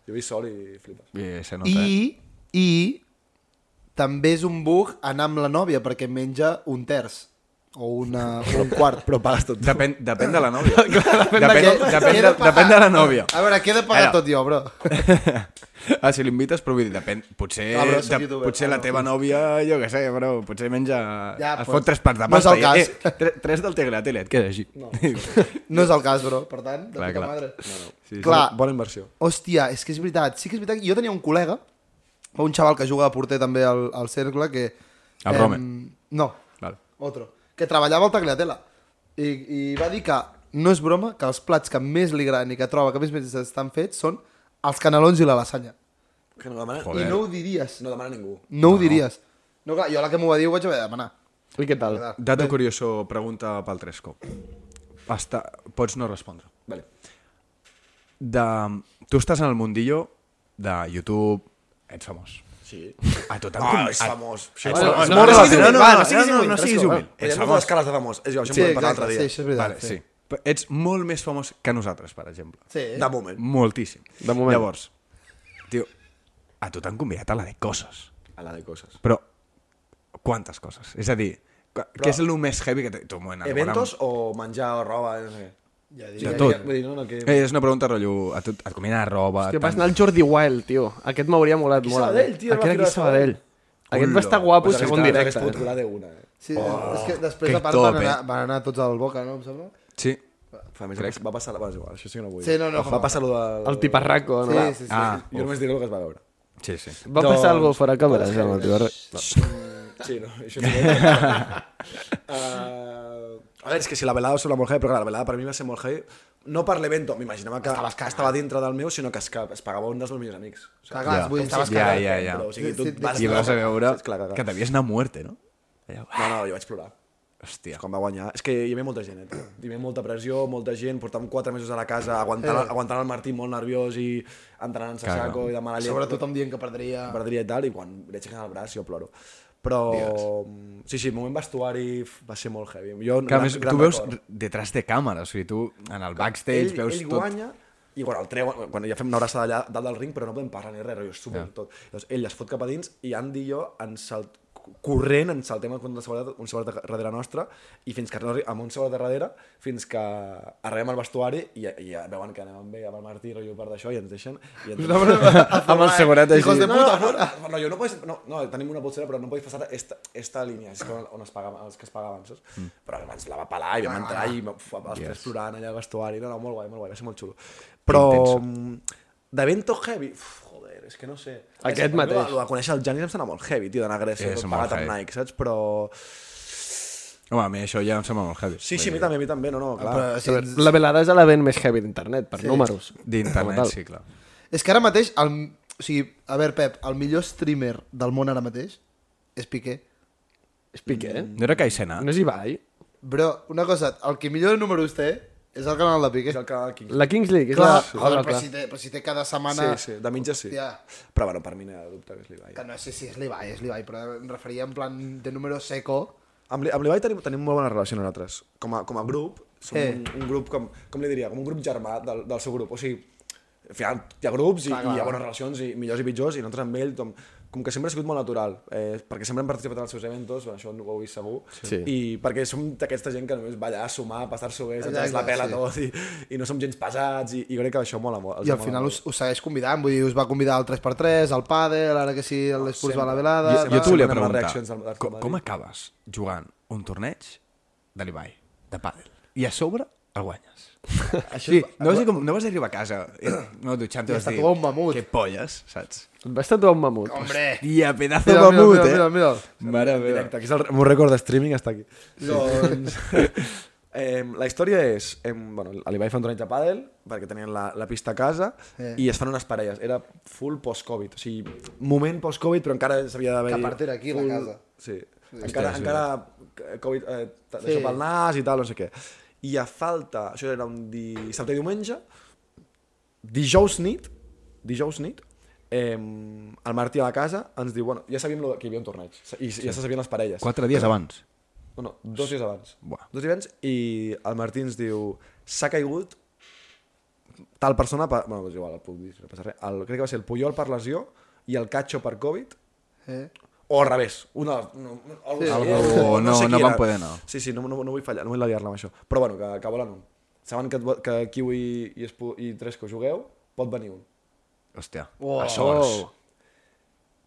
Jo he vist sol i flipes. I se nota. eh? I, i també és un bug anar amb la nòvia perquè menja un terç o una, o un quart. Però pagues tot. Depèn, depèn de la nòvia. Clar, Què- depèn, depèn, què he depèn, de, de pagar? depèn de la nòvia. A veure, què he de pagar Ara. tot jo, bro? Ah, si l'invites, però vull dir, depèn, potser, Ah, però soc de, youtuber. potser Ah, la no. teva nòvia, jo què sé, però potser menja... Ja, Ja, es pues, fot tres parts de no és pasta. el cas. i, eh, tres, tres del Tegratele, et queda així. No. No és el cas, bro. Per tant, de Clar, puta clar. madre. Sí, sí. Clar. Ah, Bona inversió. Hòstia, és que és veritat. Sí que és veritat. que Jo tenia un col·lega, un xaval que juga a porter també al, al cercle, que... El em, Rome. No, Val. otro. Que treballava al Tagliatella. I, I va dir que, no és broma, que els plats que més li agraden i que troba que més més estan fets són els canelons i la lasanya. Que no demana, Joder. I no ho diries. No, no demana ningú. ho diries. No, clar, jo la que m'ho va dir ho vaig haver de demanar. I què tal? Dato curioso, pregunta pel Tresco. Està, pots no respondre. Vale. De, tu estàs en el mundillo de YouTube, ets famós. Sí. A tot Ah, és famós. Ets Bueno, famós. no, Molt no siguis humil, relatiu. No, no, va, no, no siguis no, no, humil, no, no siguis humil. Però hi Ets ha moltes famós. escales de famós. És igual, Sí, això sí, ho podem parlar exacte, l'altre dia. sí, això és veritat, Vale, sí. sí. Però Ets molt més famós que nosaltres, per exemple. Sí. eh? De moment. Moltíssim. De moment. Llavors, tio, a tu t'han convidat a la de coses. A la de coses. Però quantes coses? És a dir, però, què és el més heavy que t'he- tu m'ho he anat Eventos o menjar o roba, no sé. Ja Sí, diria. De ja, tot. ja, vull dir, no, no, que... Eh, és una pregunta, rotllo, a tu et conviden a roba... Que Ah, tant- vas anar al Jordi Wild, tio. Aquest m'hauria molat Aquí molt. a mi. Sabadell, tio, Aquest va aquí tirar Sabadell. Aquest va Ullo. estar guapo Pues segon hagués- directe. Hagués pogut eh? colar d'una, eh? Sí, és que després, que a part, top, van anar, eh? van anar tots al Boca, no? Em sembla? Sí. Fa, a més, Crec... va passar... La... Bueno, és igual, això sí que no vull. Sí, no, no, va com- passar lo del... El tiparraco, no? Sí, sí, sí. Ah, Jo només diré el que es va veure. sí, sí. Va Doncs- passar algo fora càmera, ja, el tio. Sí, no, això sí. uh, a veure, és que si la velada sembla molt heavy, però clar, la velada per mi va ser molt heavy. No per l'evento, m'imaginava que, que estava dintre del meu, sinó que es, que es pagava un dels meus millors amics. O sigui, Clar, clar, Ja. es vull dir, estaves Ja, cagat, ja, ja. Però, o sigui, tu Sí, et sí, vas, I vas a veure Saps? Clar, clar, que clar. t'havies anat a muerte, no? Allà, No, no, jo vaig plorar. Hòstia. Quan va guanyar. És que hi havia molta gent, eh, tio. Hi havia molta pressió, molta gent, portàvem 4 mesos a la casa, aguantant, eh. aguantant el Martí molt nerviós i entrenant-se a Claro. saco i de mala llet. Sobretot em dient que perdria... perdria i tal, i quan l'aixequen el braç jo ploro. Però... mm, Sí, sí, el moment vestuari f- va ser molt heavy. Jo, Clar, gran- a més, gran tu veus record. detrás de càmera, o sigui, tu en el backstage ell, veus ell tot... guanya, i quan el treuen, quan ja fem una abraçada allà dalt del ring, però no podem parlar ni res, rotllo, és super tot. Llavors, ell es fot cap a dins i Andy i jo ens salt, corrent ens saltem el contra de seguretat, un seguretat darrere nostra i fins que no arri- amb un seguretat darrere fins que arribem al vestuari i, i ja veuen que anem amb ell, amb el Martí i per d'això i ens deixen i ens Amb el segurat així. Hijos de puta, no, no, no, jo no, podés, no, no, tenim una polsera, però no podeu passar esta, esta línia, és com on es pagaven, els que es pagaven, saps? Mm. Però abans la va pelar i vam entrar i uf, els yes. tres plorant allà al vestuari, no, no, molt guai, molt guai, va ser molt xulo. Però d'evento mm, heavy, uf, joder, és que no sé. Aquest és, mateix. El de conèixer el Janis em sembla molt heavy, tio, d'anar a Grècia, És tot molt pagat amb heavy. Nike, saps? Però... Home, a mi això ja em sembla molt heavy. Sí, sí, a mi també, a mi també, no, no, clar. Però, A sí, veure, La velada és l'event més heavy d'internet, per números. Com a D'internet, tal. sí, clar. És que ara mateix, el, o sigui, a veure, Pep, el millor streamer del món ara mateix és Piqué. És Piqué, eh? No era Caixena? No és Ibai. Bro, una cosa, el que millor números té és el canal de Piqué. És el canal King. La Kings League és Clar, la... joder, Hola, però, clar. si té, però si té cada setmana... Sí, sí, de mitja sí. Hòstia. Però bueno, per mi no hi ha dubte que és l'Ibai. Que no sé si és l'Ibai, és l'Ibai, però em referia en plan de número seco. Amb, l'I- amb l'Ibai tenim, tenim molt bona relació nosaltres. Com a, com a grup, som Eh. eh. un, un grup, com, com li diria, com un grup germà del, del seu grup. O sigui, al final hi ha grups i, i hi ha bones relacions, i millors i pitjors, i nosaltres amb ell, com, com que sempre ha sigut molt natural, eh, perquè sempre hem participat en els seus eventos, bueno, això no ho he vist segur, Sí. i perquè som d'aquesta gent que només ballar, sumar, passar-s'ho bé, Exacte, ens la pela sí. tot, i, i no som gens pesats, i, i crec que això mola molt. els I al mola final molt. us, us segueix convidant, vull dir, us va convidar al 3x3, al pàdel, ara que sí, l'Esports va a la velada... Jo, jo t'ho Sempre amb volia les preguntar. reaccions del- del Com, Madrid. com acabes jugant un torneig de l'Ibai, de pàdel, i a sobre el guanyes? Això sí, no, vas dir com, no vas arribar a casa, eh, no dutxant, I vas es dir... tatuar un mamut. Que polles, saps? Et vas tatuar un mamut. Hombre! Tia, pedazo Mira, de mira, mamut, mira, mira, eh? mira. Mare meva. Directe, aquí és el, el meu rècord de streaming està aquí. Sí. Doncs, eh, la història és, eh, bueno, l'Ibai fa un torneig de pàdel, perquè tenien la, la pista a casa, eh. Eh. i es fan unes parelles. Era full post-Covid, o sigui, moment post-Covid, però encara s'havia d'haver... Que a part era aquí, la casa. Sí. Encara, Hòstia, és encara Covid, eh, t- Sí. això pel nas i tal, no sé què. I a falta, això era un dissabte i diumenge, dijous nit, dijous nit, eh, el Martí a la casa ens diu, bueno, ja sabíem lo que hi havia un torneig, i ja se sabien les parelles. Quatre dies abans. No, no, dos dies abans. Buah. Dos dies abans i el Martí ens diu s'ha caigut tal persona per... Bueno, és igual, el puc dir, no passa res. El, crec que va ser el Puyol per lesió i el Cacho per Covid Eh? o al revés. Una, no, no, algo així, Algo- eh? no- sé no qui van era. poder anar. Sí, sí, no, no, no vull fallar, no vull liar-la amb això. Però bueno, que, que volen un. Saben que, et vo- que Kiwi i, Espo- i Tresco jugueu, pot venir un. Hòstia, Oh. a sorts.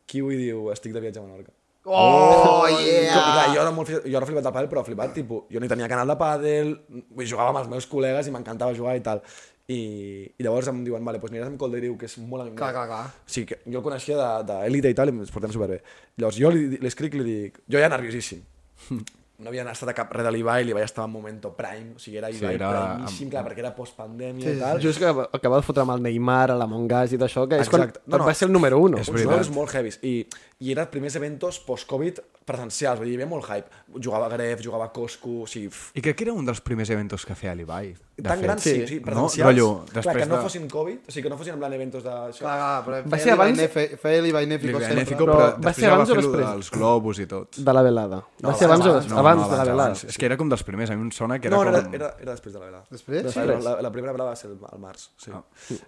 Kiwi diu, estic de viatge a Menorca. Oh, I, yeah! clar, jo, era molt, flipat- jo era flipat de pàdel, però flipat, tipus, jo ni tenia canal de pàdel, vull dir, jugava amb els meus col·legues i m'encantava jugar i tal. I, I llavors em diuen, vale, doncs aniràs amb Colderiu, que és molt amic meu. Clar, clar, clar. O sigui, que jo el coneixia de- d'Elite i tal, i ens portem superbé. Llavors jo li, li escric, li dic, jo ja nerviosíssim. No havia estat a cap res de l'Ibai, l'Ibai estava en momento prime, o sigui, era Ibai sí, era era... amb- primíssim, clar, perquè era postpandèmia Sí, sí, sí, i tal. Doncs Just que acaba de fotre amb el Neymar, a la Mongas i d'això, que és quan, Exacte. No, quan no. va ser el número 1. És uns veritat. números molt heavies. I, i eren els primers eventos post-Covid presencials, vull dir, hi havia molt hype. Jugava a Gref, jugava a Cosco, o sigui, f... I crec que era un dels primers eventos que feia l'Ibai. de tan fet. grans, sí, sí, presencials. No? Rotllo, clar, després que no de- fossin Covid, o sigui, que no fossin en plan eventos de... Clar, clar, però Va feia ser abans- l'Ibai Nefe- Feia l'Ibai Nefico sempre. Benefico, Però però, va després ser ja va abans o fer lo després? dels globus i tot. De la velada. Va ser abans, o des- abans de la velada. És que era com dels primers, a mi em sona que era No, no, era, com... era, era després de la velada. Després? Després. La, la primera velada va ser al març, sí. Ah,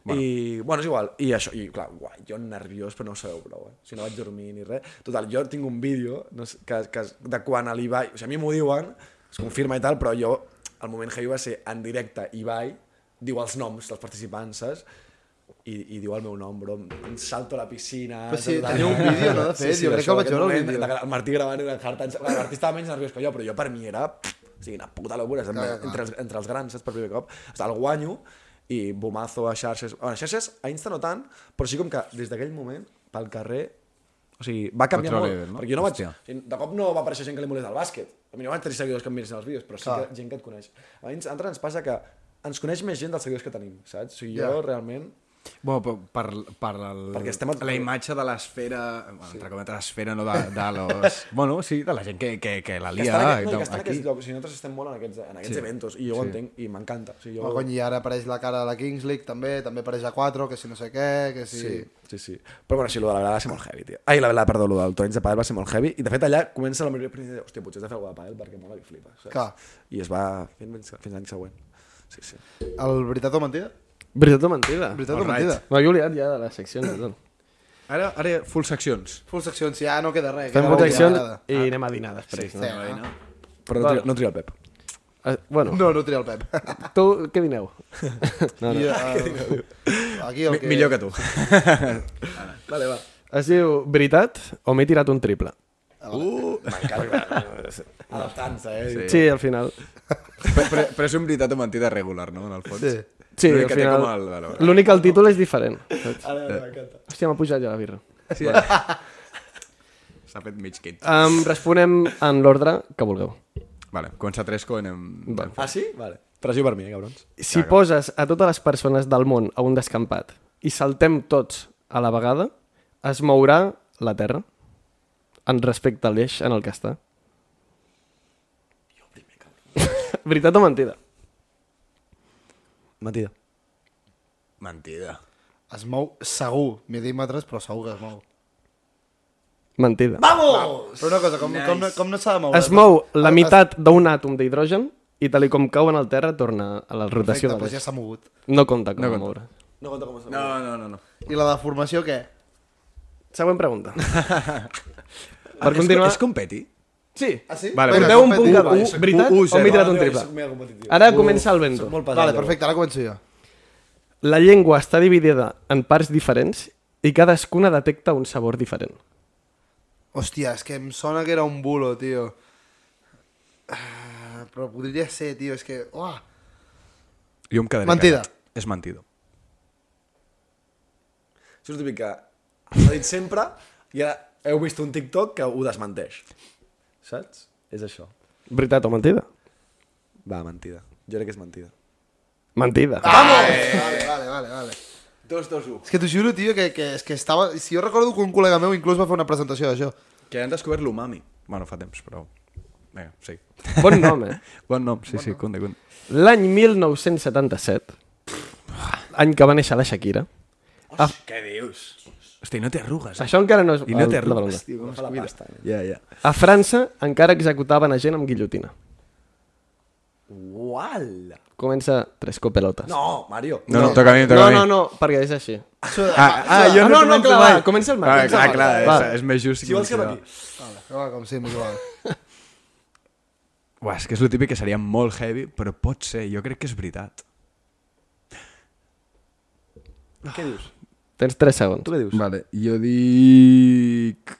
bueno. I, bueno, és igual. I això, i clar, guai, jo nerviós, però no ho sabeu prou, eh? O sigui, no vaig dormir ni res. Total, jo tinc un vídeo no sé, que, que, de quan a l'Ibai... O sigui, a mi m'ho diuen, es confirma i tal, però jo, el moment heavy va ser en directe Ibai, diu els noms dels participants, saps? I, i diu el meu nom, bro, em salto a la piscina... Però sí, saps? teniu un vídeo, no, de fet? Jo crec d'això, que el vaig d'aquest veure, el moment, vídeo. de- el Martí gravant i el Hart... Martí estava menys nerviós que jo, però jo per mi era... O sigui, una puta locura, entre, Clar, clar. entre, els, entre els grans, saps, per primer cop. O sigui, el guanyo i bomazo a xarxes... Bueno, a xarxes, a Insta no tant, però sí com que des d'aquell moment, pel carrer, o sigui, va canviar Control molt. level, no? Perquè jo no vaig... Hòstia. O sigui, de cop no va aparèixer gent que li molés al bàsquet. A mi no van tenir seguidors que em miressin els vídeos, però sí que gent que et coneix. A Insta- a nosaltres ens passa que ens coneix més gent dels seguidors que tenim, saps? O sigui, jo Ja. realment... Bueno, per, per, per el, Perquè estem a- la imatge de l'esfera... Bueno, sí. Entre cometes, l'esfera, no de, de los... bueno, sí, de la gent que, que, que la Que lia. estan, en aquest, no, i que i tal, estan en aquí. aquests llocs, o sigui, nosaltres estem molt en aquests, en aquests Sí. sí. eventos, i jo sí. ho Sí. entenc, i m'encanta. O sigui, Oh, jo... cony, i ara apareix la cara de la Kings League, també, també apareix a 4, que si no sé què, que si... Sí, sí, sí. Però bueno, sí, lo de la velada va ser molt heavy, tio. Ai, la velada, perdó, lo del torneig de pàdel va ser molt heavy. I de fet allà comença la majoria de principis de... Hòstia, potser has de fer alguna cosa de pàdel perquè mola que flipes. Saps? Clar. I es va fent fins, fins l'any següent. Sí, sí. El veritat o mentida? Veritat o mentida? Veritat o Alright. mentida? M'havia oblidat ja de les seccions i tot. Ara, ara full seccions. Full seccions, si ja no queda res. Fem queda proteccions l'última i anem a dinar després, no? vegada. Sí, no? Però no, Vale. tria, no tria el Pep. Eh, bueno, No, no tria el Pep. tu què dineu? No, I, no. eh, aquí el Mi- que... Millor que tu. Vale, va. Es diu veritat o m'he tirat un triple. Ah, M'encanta. Adaptant-se, eh? Sí. Sí, al final. però, però, però és un veritat o mentida regular, no? En el fons. Sí. Sí, L'únic al que té final. com el valor. L'únic que el títol és diferent. Ara m'encanta. Hòstia, m'ha pujat ja la birra. Sí, S'ha fet mig kit. Um, responem en l'ordre que vulgueu. Vale, comença tres quan anem... Vale. Ah, sí? Vale. Pressió per mi, eh, cabrons. Si poses a totes les persones del món a un descampat i saltem tots a la vegada, es mourà la Terra en respecte a l'eix en el que està. Veritat o mentida? Mentida. Mentida. Es mou segur, mil·límetres, però segur que es mou. Mentida. Però una cosa, com, com, no- com no s'ha de moure? Es mou la meitat d'un àtom d'hidrogen i tal i com cau en el terra torna a la rotació Perfecte, de doncs ja l'eix. s'ha mogut. No compta com No no compta. moure. No compta com es No, no, no. no. I la deformació, què? Següent pregunta. per continuar... És, és com Peti? Sí. Ah, sí? Vale, Vinga, Porteu un competi- punt cada Uh. Vale, un. Veritat u- u- o zero. m'he tirat un Soc triple? mega competitiu. Ara comença el vento. Soc molt pesat. Vale, jo. perfecte, ara començo jo. La llengua està dividida en parts diferents i cadascuna detecta un sabor diferent. Hòstia, és que em sona que era un bulo, tio. Ah, però podria ser, tio, és que... Uah, Jo em quedaré Mentida. callat. És mentida. Això és el típic que s'ha dit sempre i ara heu vist un TikTok que ho desmenteix. Saps? És això. Veritat o mentida? Va, mentida. Jo crec que és mentida. Mentida. Ah! vale, vale, vale, vale. Dos, dos, un. És que t'ho juro, tio, que, que, és que estava... Si jo recordo que un col·lega meu inclús va fer una presentació d'això. Que han descobert l'umami. Bueno, fa temps, però... Vinga, sí. Bon nom, eh? Bon nom, sí, sí, conde, conde. L'any 1977, any que va néixer la Shakira, Què dius? Hosti, no té arrugues. això encara no és... I no té el- la arrugues, pregunta. tio, com es Fa la cuida. pasta, eh? Ja, ja. A França encara executaven a gent amb guillotina. Uala! Comença tres copelotes. No, Mario. No, no, toca a mi, toca no, a mi. no, no, perquè és així. Ah, ah, jo Ah, no, no, no, començo clar, mai. va, comença el Marc, Ah, comença el clar, Marc. clar, és, Va. és més just. Si vols que va començar. aquí. Però va, com si m'ho igual. Uah, és que és el típic que seria molt heavy, però pot ser, jo crec que és veritat. Ah. Què dius? Tens tres segons. Tu què dius? Vale, jo dic...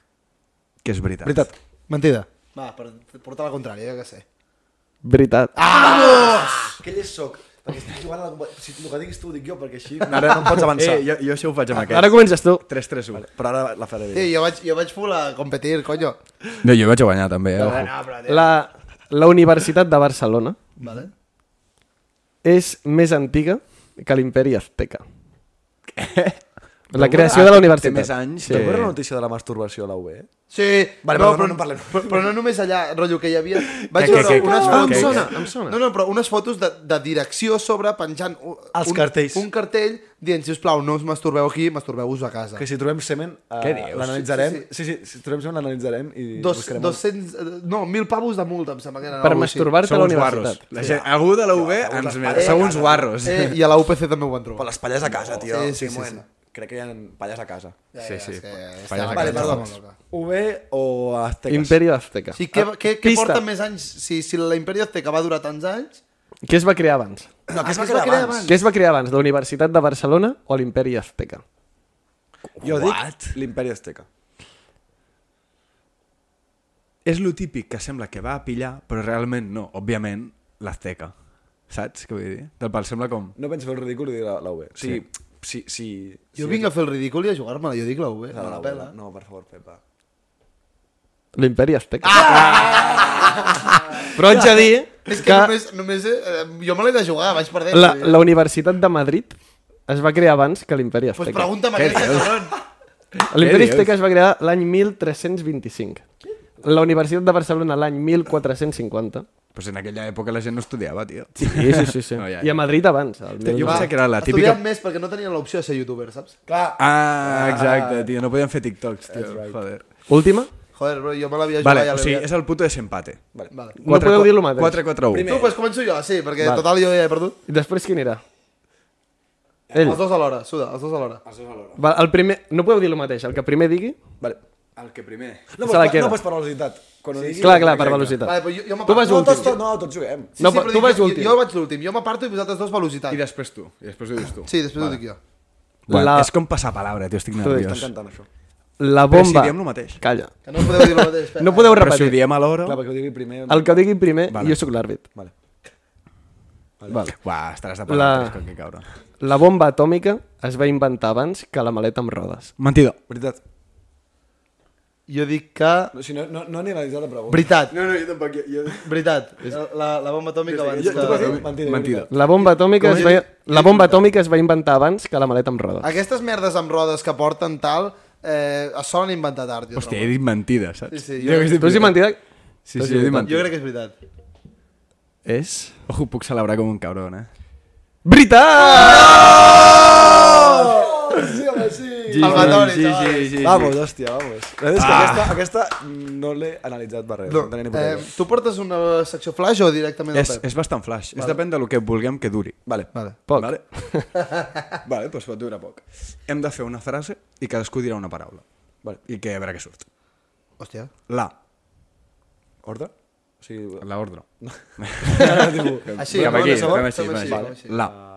que és veritat. Veritat. Mentida. Va, per portar la contrària, jo què sé. Veritat. Ah! Que llest soc? Perquè estic jugant a la competició. Si el que diguis tu ho dic jo, perquè així ara no em pots avançar. Eh, jo, jo això ho faig amb aquest. Ara comences tu. 3-3-1. Vale. Però ara la faré bé. Sí, jo vaig, jo vaig full a competir, conyo. No, jo vaig a guanyar també, eh? Ojo. La, la Universitat de Barcelona Vale. és més antiga que l'imperi Azteca. La ah, creació de la universitat. Té més anys. Sí. Recordes la notícia de la masturbació a la E? UB? Sí, Vale, no, perdona, però, no en parlem. Però, però no només allà, rotllo, que hi havia... Vaig Que- veure que- que- unes que- fotos... que- Em sona, em sona. No, no, però unes fotos de, de direcció a sobre penjant... u- Els un, cartells. Un cartell dient, sisplau, no us masturbeu aquí, masturbeu-vos a casa. Que si trobem semen, uh, Què dius? l'analitzarem. Sí, Sí sí. sí, si trobem semen l'analitzarem i Dos, buscarem... 200... eh, No, 1.000 pavos de multa, em sembla que era. Per masturbar-te a la universitat. La gent, algú de la UB ens mira. Sou uns guarros. Eh, I a la UPC també ho van Per trobar. les palles a casa, tio. sí, sí, sí, bueno. Crec que hi ha palles a casa. Sí, sí. Falles a Vale, casa. perdó. UB o Aztecas? Imperi Azteca. Sí, què, què, què Ah, Pista. porta més anys? Si, si la Imperio Azteca va durar tants anys... Què es va crear abans? No, que es Ah, va crear abans. Què es va crear abans, la Universitat de Barcelona o l'Imperi Azteca? Jo What? dic l'imperi Azteca. És lo típic que sembla que va a pillar, però realment no. Òbviament, l'Azteca. Saps què vull dir? Del pal sembla com... No penso fer el ridícul i dir la, la E. UB. Sí. Sí, sí, sí. Jo vinc a fer el ridícul i a jugar-me-la, jo dic la UB, No, no la pela. E, no, per favor, Pepa. L'Imperi Azteca. Ah! Però haig de dir Ah! És que, que només, només eh, jo me l'he de jugar, vaig perdent. la, la Universitat de Madrid es va crear abans que l'Imperi pues Azteca. pregunta'm aquesta, cabron. L'Imperi Què dius? Azteca es va crear l'any 1325. La Universitat de Barcelona l'any 1450. Pues en aquella època la gent no estudiava, tio. Sí, sí, sí. sí. No, ja, ja. I a Madrid abans. El 1900. Jo pensava que era la típica... Estudiant més perquè no tenien l'opció de ser youtuber, saps? Ah, exacte, tio. No podien fer TikToks, tio. Joder. Última? Joder, bro, jo me l'havia jugat Vale, ja o sigui, és el puto desempate. Vale. Vale. No podeu dir lo mateix. 4-4-1. Tu, pues començo jo, sí, perquè vale. total jo ja he perdut. I després quin era? Ell. Els dos alhora, suda, els dos alhora. Va, el primer... No podeu dir el mateix, el que primer digui... Vale. El que primer. No, Se la però, queda. no, pues per velocitat. Quan ho digui, Clar, clar, per exacte. velocitat. Vale, però jo, jo Tu vas No, m'aparto. tots, tots, no, tots juguem. Sí, No, sí, però però tu dic, vas jo- últim. Jo, jo vaig l'últim, jo m'aparto i vosaltres dos velocitat. I després tu. I després ho dius tu. Sí, després ho dic jo. Bueno, La- la... És com passar palabra, tio, estic nerviós. Estan cantant això. La Però si bomba... diem el mateix. Calla. Que no podeu dir el mateix. espera. No podeu Però si ho repetir. diem alhora... Clar, perquè ho digui primer... El que digui primer, Vale. jo sóc l'àrbit. Vale. Vale. Uah, estaràs de La- palabra, la... que caure. La bomba atòmica es va inventar abans que la maleta amb rodes. Mentidor. Veritat. Jo dic que... No, si no, no, no n'he analitzat la pregunta. Veritat, No, no, jo tampoc. Jo... veritat. La, la bomba atòmica abans Jo, tu vas dir que... mentida. Mentida. La bomba atòmica Com es he va... dit? La bomba atòmica es va inventar abans que la maleta amb Ah, rodes. Aquestes merdes amb rodes que porten tal, eh, es solen inventar tard, jo Hòstia, he dit mentida, saps? Sí, sí, jo- jo, he dit Tu has dit mentida? veritat. Sí, sí, jo he dit trobo. Jo mentida. crec que és veritat. És... Ojo, puc celebrar com un cabron, eh? Ah! Veritat! Salvatori, sí, xaval. sí, sí. Vamos, hòstia, vamos. La veritat és que Ah. aquesta, aquesta no l'he analitzat per res. No, No, tenia ni puta eh, idea. tu portes una secció flash o directament És, al Pep? és bastant flash. Vale. És depèn del que vulguem que duri. Vale. Vale. Poc. Vale? vale, doncs pot durar poc. Hem de fer una frase i cadascú dirà una paraula. Vale. I que a veure què surt. Hòstia. La. Ordre? O sigui... La ordre. Així, Cap no? aquí, De segon? fem així, Fem així, fem així. fem així. La.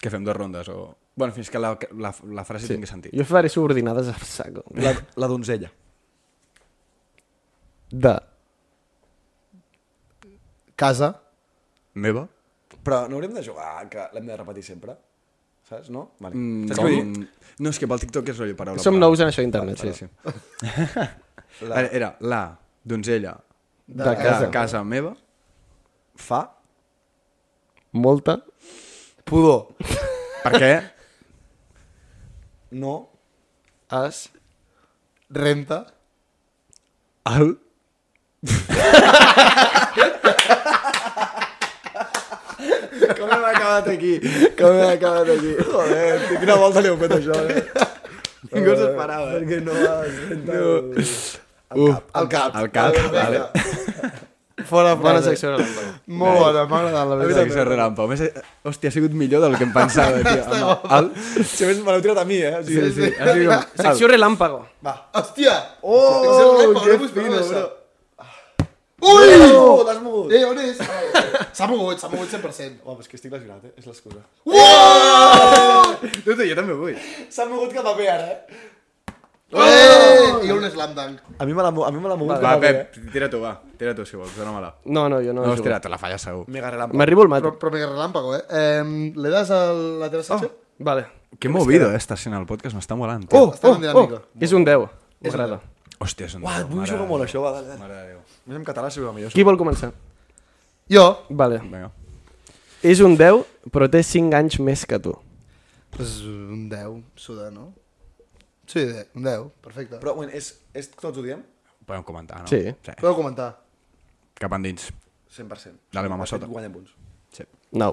Que fem dues rondes o... Bueno, fins que la, la, la frase sí. tingui sentit. Jo faré subordinades a saco. La, la donzella. De... Casa. Meva? Però no hauríem de jugar, que l'hem de repetir sempre. Saps, no? Vale. Mm, Saps com? què vull dir? No, és que pel TikTok és rotllo paraula. Som per nous paraula. en això a internet, sí, sí. La... Ara, Era la donzella De de casa. casa meva. Fa? Molta... Pudor. Per què? No. Es... Renta. El... Com hem acabat aquí? Com hem acabat aquí? Joder, tio, quina volta li heu fet això, eh? Ningú s'ho eh? esperava. Perquè no has no. Uf, Al cap. el cap. Vale. Fora Bona frase. secció. no? Molt bona, m'ha agradat, la A mi veritat. s'ha relàmpau. Més, eh, hòstia, ha sigut millor del que em pensava, tio. Amb el... Si a més me l'heu tirat a mi, eh? O sigui, Sí, sí. Ha sigut... com- Secció relàmpago. Va. Hòstia! Oh, Exacte, que no us fino, perdeu, bro. això. Ui! L'has mogut, l'has mogut. Eh, on és? S'ha mogut, s'ha mogut 100%. Home, és que estic lesionat, eh? És l'excusa. Tu, tu, jo també vull. S'ha mogut cap a bé, ara, eh? Eh! I un slam dunk. A mi me l'ha mogut cap Va, a bé, eh? Pep, tira-t'ho, va. Tira-t'ho, si vols. Dóna-me-la. No, no, jo no, No, jugo. hòstia, te la falla segur. Mega relampa. M'arribo el Però, mato. però mega relàmpago, eh? eh L'he das a la teva secció? Vale. Que movido, eh, està sent el podcast. M'està molant. Oh, Estem oh, en oh, dinàmica. és un 10. M'agrada. Hòstia, és un... Uah, Déu, et vull mare jugar de molt, Déu. això, va, dale, dale. Mare de Déu. Més en català seria millor. Qui vol començar? Jo. Vale. Vinga. És un 10, però té 5 anys més que tu. Pues un 10, suda, no? Sí, de- un 10, perfecte. Però... Però, bueno, és, és, tots ho diem? Podem comentar, no? Sí. sí. Podeu comentar. Cap endins. 100%. Dale, mama, De fet, sota. Guanya punts. Sí. No,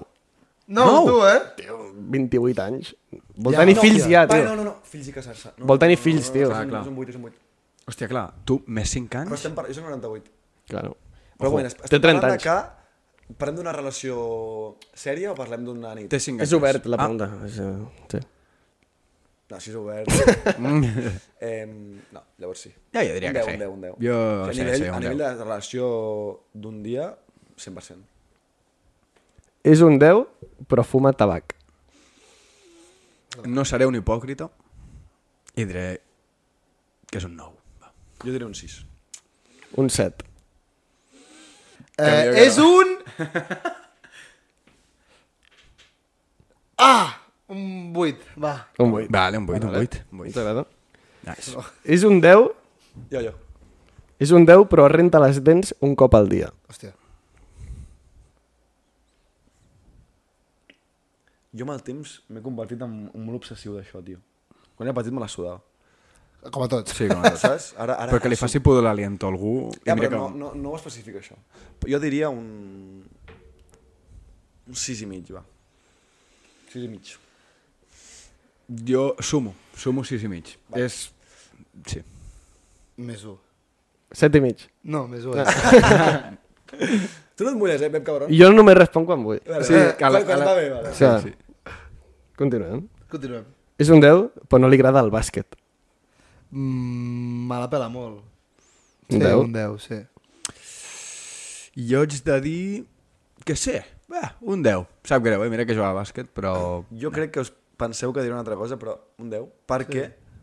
No, no. tu, eh? 28 anys. Vol Ja, tenir no, fills hòstia. ja, Va, no, tio. no, no, fills i casar-se. No, Vol tenir no, no, fills, no, tio. No, és Ah, Clar, un- clar. és un 8, és un 8. Hòstia, clar, tu més 5 Però anys... estem per... Jo soc 98. Claro. Però, Ojo, bueno, es- té estem 30 parlant de anys. que... Parlem d'una relació sèria o parlem d'una nit? Té 5 anys. És obert, la Ah, pregunta. Ah. És, eh, sí. No, si és obert. eh, no, llavors sí. Ja, jo diria un 10, que sí. Un 10, un 10. Jo, o sí, sigui, a nivell, sí, un a nivell 10. de relació d'un dia, 100%. és un 10, però fuma tabac. No seré un hipòcrita i diré que és un 9. Va. Jo diré un 6. Un 7. eh que és un... Ah! Un 8, va. Un 8. Vale, un 8, un 8. Ens agrada. Nice. És un 10, Jo, jo. és un 10, però es renta les dents un cop al dia. Hòstia. Jo amb el temps m'he convertit en un molt obsessiu d'això, tio. Quan era petit me la sudava. Com a tots. Sí, com a tots. Saps? Ara, ara, Però que li faci pudor l'aliento a algú... Ja, i mira però no, que- no, no ho especifica, això. Però Jo diria un... Un 6 i mig, va. 6 i mig. Jo sumo, sumo 6 i mig. És... Sí. Més 1. 7 i mig. No, més eh? 1. Tu no et mulles, eh, Pep Cabron? Jo només responc quan vull. Vale, Sí, vale. que a la- Quan- a quan la- va bé, vale. O sigui, Continuem. Continuem. És un 10, però no li agrada el bàsquet. Mm, me la pela molt. Un Sí, 10? un 10, sí. Jo haig de dir... Que sé, va, un 10. Sap greu, eh? Mira que jugava a bàsquet, però... Jo crec que us penseu que diré una altra cosa, però un 10, perquè sí.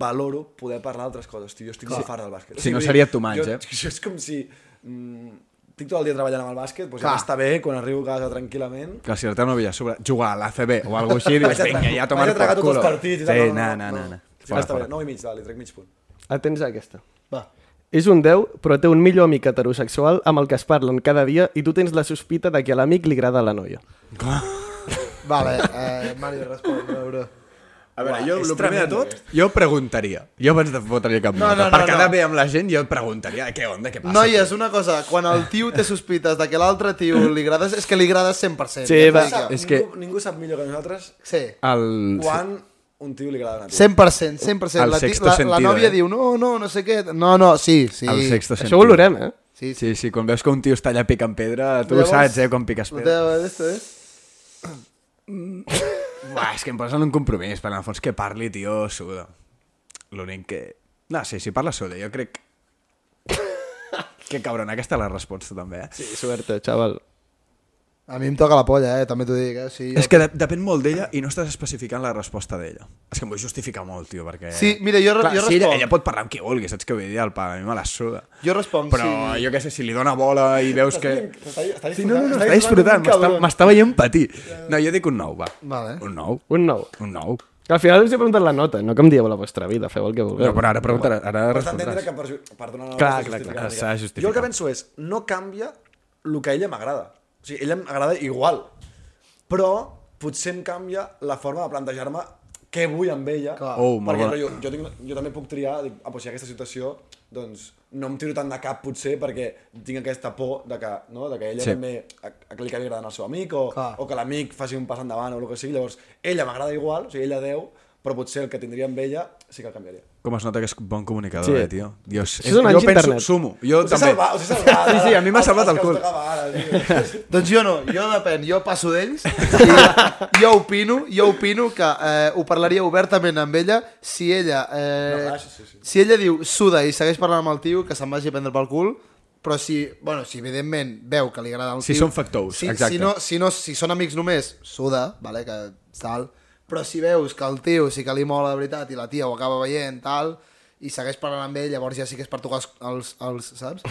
valoro poder parlar d'altres coses, tio. Jo estic molt fart del bàsquet. Sí, no vull dir, seria tu mans, jo, eh? Jo és com si... Mm, estic tot el dia treballant amb el bàsquet, doncs ja Clar. m'està bé, quan arribo a casa tranquil·lament... Que si el teu no havia sobre jugar a l'ACB o alguna cosa així, dius, Vaig a- vinga, ja a tomar vaig a tragar per tots culo. els partits. i tal, Sí, no, no, no, no, no. no. Sí, Fora, està bé, fora. 9 i mig, dale, trec mig punt. Atents a aquesta. Va. És un 10, però té un millor amic heterosexual amb el que es parlen cada dia i tu tens la sospita de que a l'amic li agrada la noia. Vale, eh, Mario, respon, a veure. A veure, Uah, jo, és el primer de tremendo, eh. tot, jo preguntaria. Jo abans de fotre-li cap No, nota. no, no, per quedar no. bé amb la gent, jo et preguntaria, què onda, què passa? Noies, una cosa, quan el tio té sospites de que l'altre tio li agrades, és que li agrades 100%. Sí, ja t'ho va. dic jo. És És que- que... Ningú, ningú sap millor que nosaltres Sí. El... quan un tio li agrada una tia. 100%, 100%. El La, ti- sexto la, la sentido, nòvia eh? diu, no, no, no sé què. No, no, sí, sí. El sexto Això sentido. ho olorem, eh? Sí, sí. Sí, sí, quan veus que un tio està allà picant pedra, tu Llavors, Llavors- saps, eh, quan piques No pedra. te- esto és... Uah, és que em posa en un compromís, per en el fons que parli, tio, suda. L'únic que... No, sí, si parla suda, jo crec... que cabrona, aquesta és la resposta, també, eh? Sí, suerte, xaval. A mi em toca la polla, eh, també t'ho dic. Eh? O sigui, jo... És que de depèn molt d'ella i no estàs especificant la resposta d'ella. És que em vull justificar molt, tio, perquè... Sí, mira, jo re- Clar, jo sí, ella, responc. ella pot parlar amb qui vulgui, saps què vull dir? El pa, a mi me la suda. Jo responc, Però sí. jo què sé, si li dóna bola i veus que... Està, està Sí, no, no, no, està disfrutant, m'està- m'està veient patir. No, jo dic un 9, va. Vale. Un 9. Un 9. Un 9. Que al final us he preguntat la nota, no que em dieu la vostra vida, feu el que vulgueu. No, però ara preguntaràs, ara Però s'ha d'entendre respondràs. que per, ju- per donar una Clar, resposta clar, clar, justificada, s'ha de justificar. Jo el que penso és, no canvia el que a ella m'agrada. O sigui, ella m'agrada igual, però potser em canvia la forma de plantejar-me què vull amb ella. Clar. Oh, molt perquè bona. jo, jo, tinc, jo també puc triar, dic, ah, doncs si hi ha aquesta situació, doncs no em tiro tant de cap potser perquè tinc aquesta por de que, no? de que ella Sí. també a, a que li acabi agradant al seu amic o, Clar. o que l'amic faci un pas endavant o el que sigui. Llavors, ella m'agrada igual, o sigui, ella 10, però potser el que tindria amb ella sí que el canviaria. Com es nota que és bon comunicador, Sí. eh, tio? Dios, Això és un anys jo penso, d'internet. sumo, jo Us he també. salvat, us he salvat. Sí, sí, a mi m'ha Els- salvat els el que us cul. tocava ara, tio. Doncs jo no, jo depèn, jo passo d'ells i jo opino, jo opino que eh, ho parlaria obertament amb ella si ella eh, No, clar, sí, sí. si ella diu suda i segueix parlant amb el tio que se'n vagi a prendre pel cul però si, bueno, si evidentment veu que li agrada el Si tio són factors, si, exacte. si, no, si, no, si són amics només, suda vale, que tal, però si veus que el tio sí que li mola de veritat i la tia ho acaba veient tal, i segueix parlant amb ell llavors ja sí que és per tocar els, els, els saps?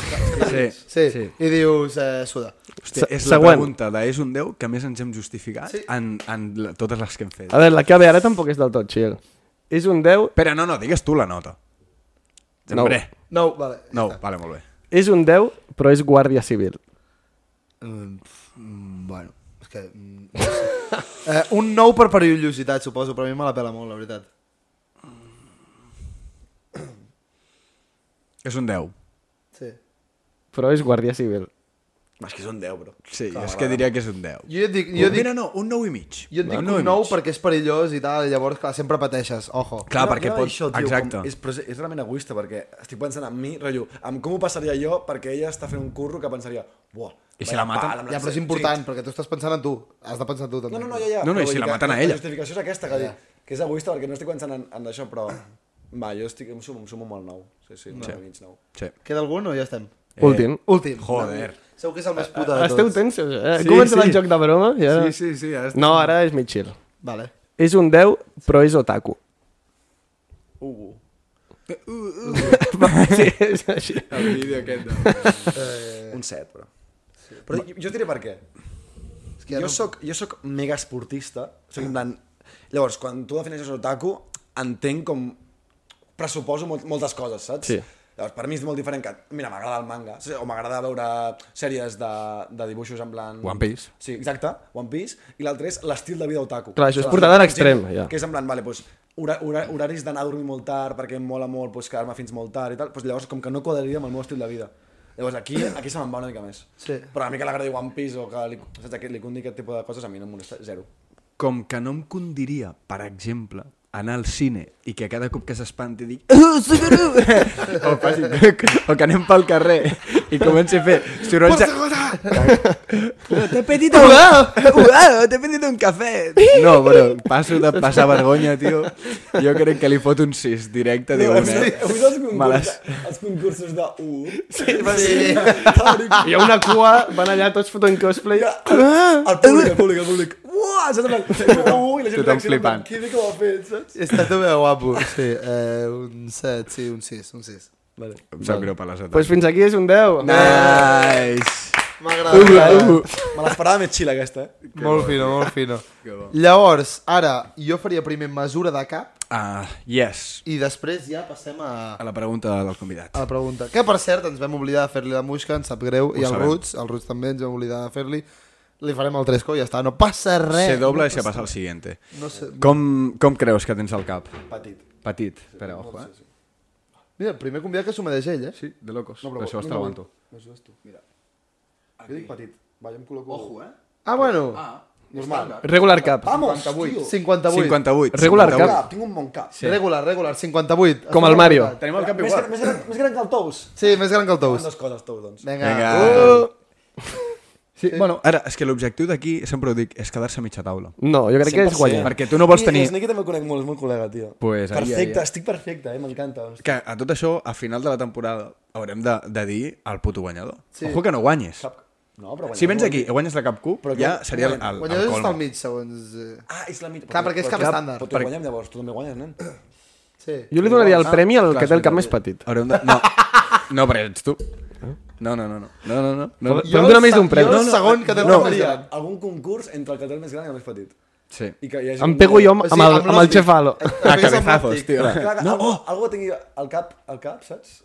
Sí. Sí, sí, i dius eh, suda Hòstia, Se- és la següent. pregunta de és un 10 que més ens hem justificat en, en la, totes les que hem fet. A veure, la que ve ara tampoc és del tot chill. És un 10, Espera, no, no, digues tu la nota. No. Hombre, no, vale, no, vale, molt bé. és un 10, però és guàrdia civil. Eh, Mm, pf, mm, bueno, és que... mm, No sé. Eh, un nou per perillositat, suposo, però a mi me la pela molt, la veritat. És un 10. Sí. Però és Guàrdia Civil. És que és un 10, bro. Sí, és que diria que és un 10. Jo et dic, jo et dic, Mira, no, un 9 i mig. jo et dic un un nou perquè és perillós i tal, i llavors, clar, sempre pateixes, ojo. Clar, Era- Ah, perquè era pot... Això, tio, Exacte. Com, és, però és, és realment egoista, perquè estic pensant en mi, rotllo, en com ho passaria jo, perquè ella està fent un curro que pensaria, buah, I si vaya la maten? pala, em Ja, però és sé". important, perquè tu estàs pensant en tu. Has de pensar en tu, Sí. No, també. no, no, ja, ja. No, no, i però si vull dir la que maten a la ella. justificació és aquesta, que, dic, que és egoista, perquè no estic pensant en, en això, però... Va, jo estic, em sumo, em sumo molt nou. Sí, sí, no. mig nou. Mm. Sí. Queda algun o ja estem? Eh. Últim. Últim. Eh, Joder. Segur que és el més puta de tots. Esteu tensos, eh? Sí, Sí, Comença sí. sí. el joc de broma i ara... Sí, sí, sí, ara està. No, ara és mig chill. Vale. És un 10, però és otaku. Uh. Hugo. sí, és així. El vídeo aquest de... Eh... Un set, però. Sí. Però jo, jo et diré per què. És que Jo ja no... soc, jo soc mega esportista. Soc en plan... Llavors, quan tu defineixes otaku, entenc com... Pressuposo molt, moltes coses, saps? Sí. Llavors, per mi és molt diferent que... Mira, m'agrada el manga, sí, o m'agrada veure sèries de, de dibuixos en plan... One Piece. Sí, exacte, One Piece. I l'altre és l'estil de vida otaku. Clar, això és Saps? portat a l'extrem, ja. Que és en plan, vale, doncs, hora, hora, horaris d'anar a dormir molt tard perquè em mola molt doncs, quedar-me fins molt tard i tal, doncs, llavors com que no quadraria amb el meu estil de vida. Llavors aquí, aquí se me'n va una mica més. Sí. Però a mi que l'agradi One Piece o que li, saps, aquest, li cundi aquest tipus de coses, a mi no em molesta, zero. Com que no em condiria, per exemple, anar al cine i que cada cop que s'espanti dic "Ah, Subaru!" o, faci, o que anem pel carrer i comenci a fer sorolls de... T'he petit un... Uau, t'he petit un cafè! No, però passo de passar vergonya, tio. Jo crec que li fot un 6 directe, diu, Heu vist- heu vist els, Me concurs, l'has- els concursos de U? Sí, sí. Hi ha una cua, van allà tots fotent cosplay. Ah. El públic, el públic, el públic. Uah, saps? En plan, U, i la gent reacciona Tothom en plan, flipant. Qui bé que ho ha fet, saps? Està tot bé guapo. Sí, eh, un 7, sí, un 6, un 6. Vale. Em sap greu per Ah, les atacs. Doncs pues eh. fins aquí és un 10. Nice! M'agrada. m'agrada. Me l'esperava més xila aquesta, eh? Molt fino, molt fino. Llavors, ara, jo faria primer mesura de cap Ah, yes. i després ja passem a, A la pregunta del convidat. a la pregunta. Que, per cert, ens vam oblidar de fer-li la Muixca, ens sap greu, i el sabem. Ruts, el Ruts també ens vam oblidar de fer-li. Li farem el Tresco i ja està, no passa res. Se dobla i se passa al siguiente. No sé. Com, com creus que tens al cap? Petit. Petit, però ojo, eh? Mira, el primer convidat que s'ho mereix ell, eh? Sí, de locos. No, però, això està aguanto. M'ajudes tu, mira. Jo dic petit. Va, jo em col·loco... Ojo, eh? Ah, bueno, Normal. Regular cap. Vamos, 58. tio. 58. 58. Regular Tinc un 58. cap. cap, Tinc un bon cap. Sí. Regular, regular, Com 58. Està el molt Mario. apretat. Tenim el cap Més, igual. més, gran, més gran que el Tous. Sí, més gran que el Són Tous. dues coses, Tous, doncs. Vinga. Vinga. Uh! Sí, bueno, ara, és que l'objectiu d'aquí, sempre ho dic, és quedar-se a mitja taula. No, jo crec que és guanyar. Perquè tu no vols I- tenir- És Nicky també el conec molt, és molt col·lega, tio. Pues, ahí, perfecte, ahí, ahí. estic perfecte, eh? M'encanta. hòstia. Que a tot això, a final de la temporada, haurem de, de dir el puto guanyador. Sí. Ojo que no guanyes. Cap... No, però Si vens guanyador- aquí i guanyes la cap Q, Però ja que- seria el, el, el, Guanyador és colmo. al mig, segons... eh, Ah, és la mitja. Clar, perquè és cap estàndard. Però tu guanyem, llavors, tu també guanyes, nen. Sí. Jo li donaria el Ah, premi al clar, que té el cap sí, més sí. petit. Haurem de... No, no perquè ets tu. No, no, no, no. No, no, no. no, no. Jo- Podem donar més d'un premi. Jo No, el no, segon que te'n No, guanyaria. algun concurs entre el que té el més gran i el més petit. Sí. I que hi hagi Em un- pego jo O amb, sigui, amb, el, amb el l'hòstic. xefalo. A També és amb cabezazos, l'hòstic. tio. Clar, que No, algú, algú que tingui al cap, al cap, saps?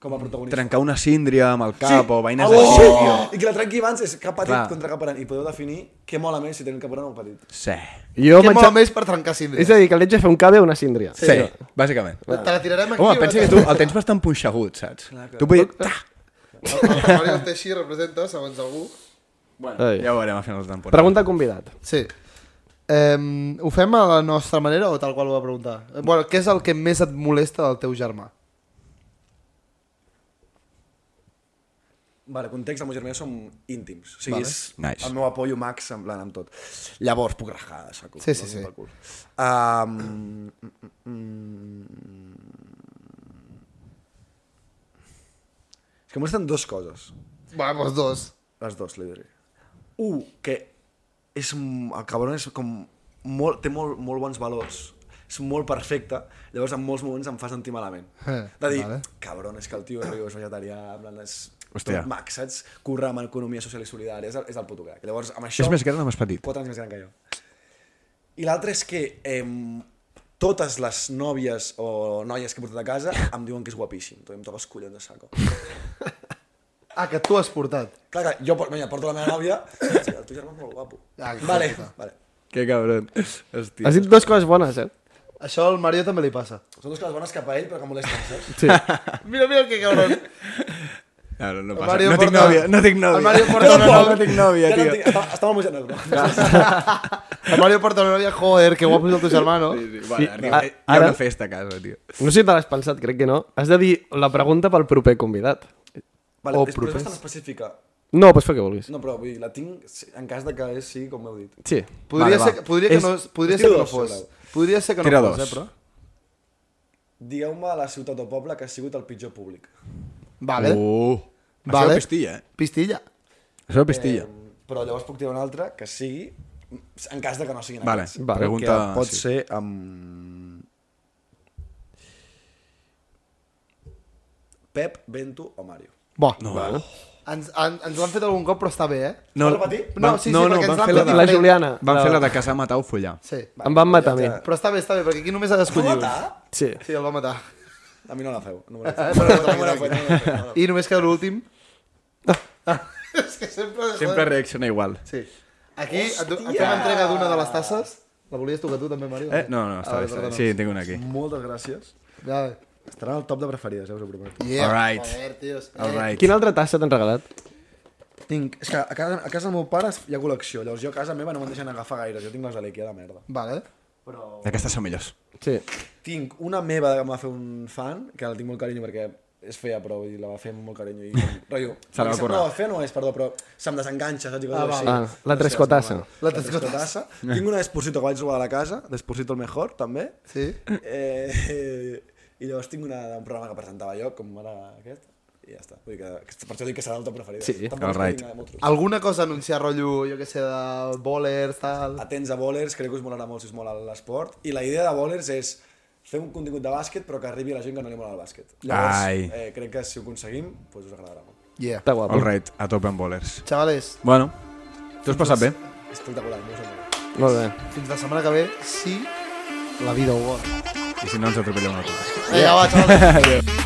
Com a protagonista. trencar una síndria amb el cap sí. o veïnes Algú de així, sí. I que la trenqui abans és cap petit Clar. contra cap gran. I podeu definir què mola més si tenen cap gran o petit. Sí. Jo Què vaig mola a... més per trencar síndries? És a dir, que l'haig de fer un cabe a una síndria. Sí, bàsicament. Te la tirarem aquí. Home, pensa que tu el tens bastant punxegut, saps? Tu vull... Ta! El, el Mario Teixi representa, segons algú... Ai. Ja ho veurem a final de temporada. Pregunta al convidat. Sí. Um, ho fem a la nostra manera o tal qual ho va preguntar? Eh, Bueno, què és el que més et molesta del teu germà? Vale, context, amb els germans som íntims. O sigui, vale. és Nice. el meu apoyo max, en plan, amb tot. Llavors, puc rajar de saco. Sí, sí, sí. sí. Um, mm, mm, és que molesten dues coses. Vamos, doncs dos. Les dues, li diré. Un, que és, un- el cabron és com molt, té molt, molt bons valors, és molt perfecte, llavors en molts moments em fa sentir malament. Eh, De dir, vale. cabron, és que el tio és vegetarià, en plan, és Hòstia. tot mac, saps? Curra amb economia social i solidària, és, el- és el puto crac. Llavors, amb això... És més gran o més petit? 4 anys més gran que jo. I l'altre és que eh, totes les nòvies o noies que he portat a casa em diuen que és guapíssim. Tu em toques collons de saco. Ah, que tu has portat. Clar, clar, jo por- mira, porto la meva nòvia, saps? el teu germà és molt guapo. Ah, que vale, puta. vale. Que cabron. Hòstia. Has dit dues coses bones, eh? Això al Mario també li passa. Són dues coses bones cap a ell, però que molesten, saps? Sí. Mira, mira que cabron. No, no, no El passa. Mario no tinc porta- nòvia, no tinc nòvia. El Mario porta una Tampoc, nòvia. No tinc nòvia, Ja no tio. tinc- Està, està molt emocionat, però. El Mario porta una novia, joder, que guapo és el teu germano. Sí, sí, vale, arriba, a- hi ha ara- una festa a casa, tio. No sé si te l'has pensat, crec que no. Has de dir la pregunta pel proper convidat. Vale, O Oh, és, però és propers. bastant específica. No, pots fer que vulguis. No, però vull dir, la tinc si- en cas de que és, sí, com heu dit. Sí. Vale, Podria, ser, va. que- podria, que És- no, podria tiro ser que no dos, fos. sobre. Podria ser que no Tira fos, dos. eh, però... Digueu-me la ciutat o poble que ha sigut el pitjor públic. Vale. Oh. Això vale. és pistilla, eh? Pistilla. Això és pistilla. Eh, però llavors puc tirar una altra que sigui en cas de que no siguin Vale, aquests. Vale, pregunta... que pot sí. ser amb... Pep, Bento o Mario. Bo. No, vale. Ens, en, ens ho han fet algun cop, però està bé, eh? no, Vols repetir? van- No, sí, sí, no, no, perquè ens van l'han fer fet la de... La diferent. Juliana. Van fer la de casar, matar o follar. Sí. Em van matar a mi. Ja està. Però està bé, està bé, perquè aquí només ha Ho d'escollir un. matar? Sí. Sí, el va matar. A mi no la feu. No me la feu. No me la feu, no me la Ah, feu, no me la feu. I només queda l'últim. Ah, és que sempre... Sempre reacciona igual. Sí. Aquí et, do- et fem entrega d'una de les tasses. La volies tocar tu també, Mario? Eh? No, Ah, no, està bé, està bé. Sí, en tinc una aquí. Moltes gràcies. Ja. Estarà al top de preferides, eh, us ho prometo. Yeah. Alright. Joder, tios. Eh, Alright. Quina altra tassa t'han regalat? Tinc... És que a casa, a casa del meu pare hi ha col·lecció, llavors jo a casa meva no me'n deixen agafar gaire, jo tinc les de l'Ikea de merda. Vale. Aquestes són millors. Sí. Tinc una meva que em va fer un fan, que la tinc molt carinyo perquè és feia, però vull dir, la va fer amb molt carinyo. I, rotllo, Se la va perquè currar. No, va fer no és, perdó, però se'm desenganxa, saps? I coses Ah, així. va. Ah, la No sé, trescotassa. la setmana. La La trescotassa. tinc una d'Esposito que vaig robar a la casa, d'Esposito el mejor, també. Sí. Eh, eh, I llavors tinc una d'un programa que presentava jo, com era aquest, i ja està. Vull dir que, que per això dic que serà l'altra preferida. Sí, Tampoc és que alright. tinc nada molt trus. Alguna cosa a anunciar, rotllo, jo que sé, de bowlers, tal... Ah. atents a bowlers, crec que us molarà molt si us mola l'esport. I la idea de bowlers és fer un contingut de bàsquet però que arribi a la gent que no li mola el bàsquet. Ai. Llavors, eh, crec que si ho aconseguim, doncs us agradarà molt. Yeah. Està guapo. Alright, a tope amb bowlers. Chavales, Bueno, t'ho has passat bé? Espectacular, no us ho mola. Molt bé. fins la setmana que ve, si la vida ho vol. I si no ens atropella una cosa. Vinga, va, chavales.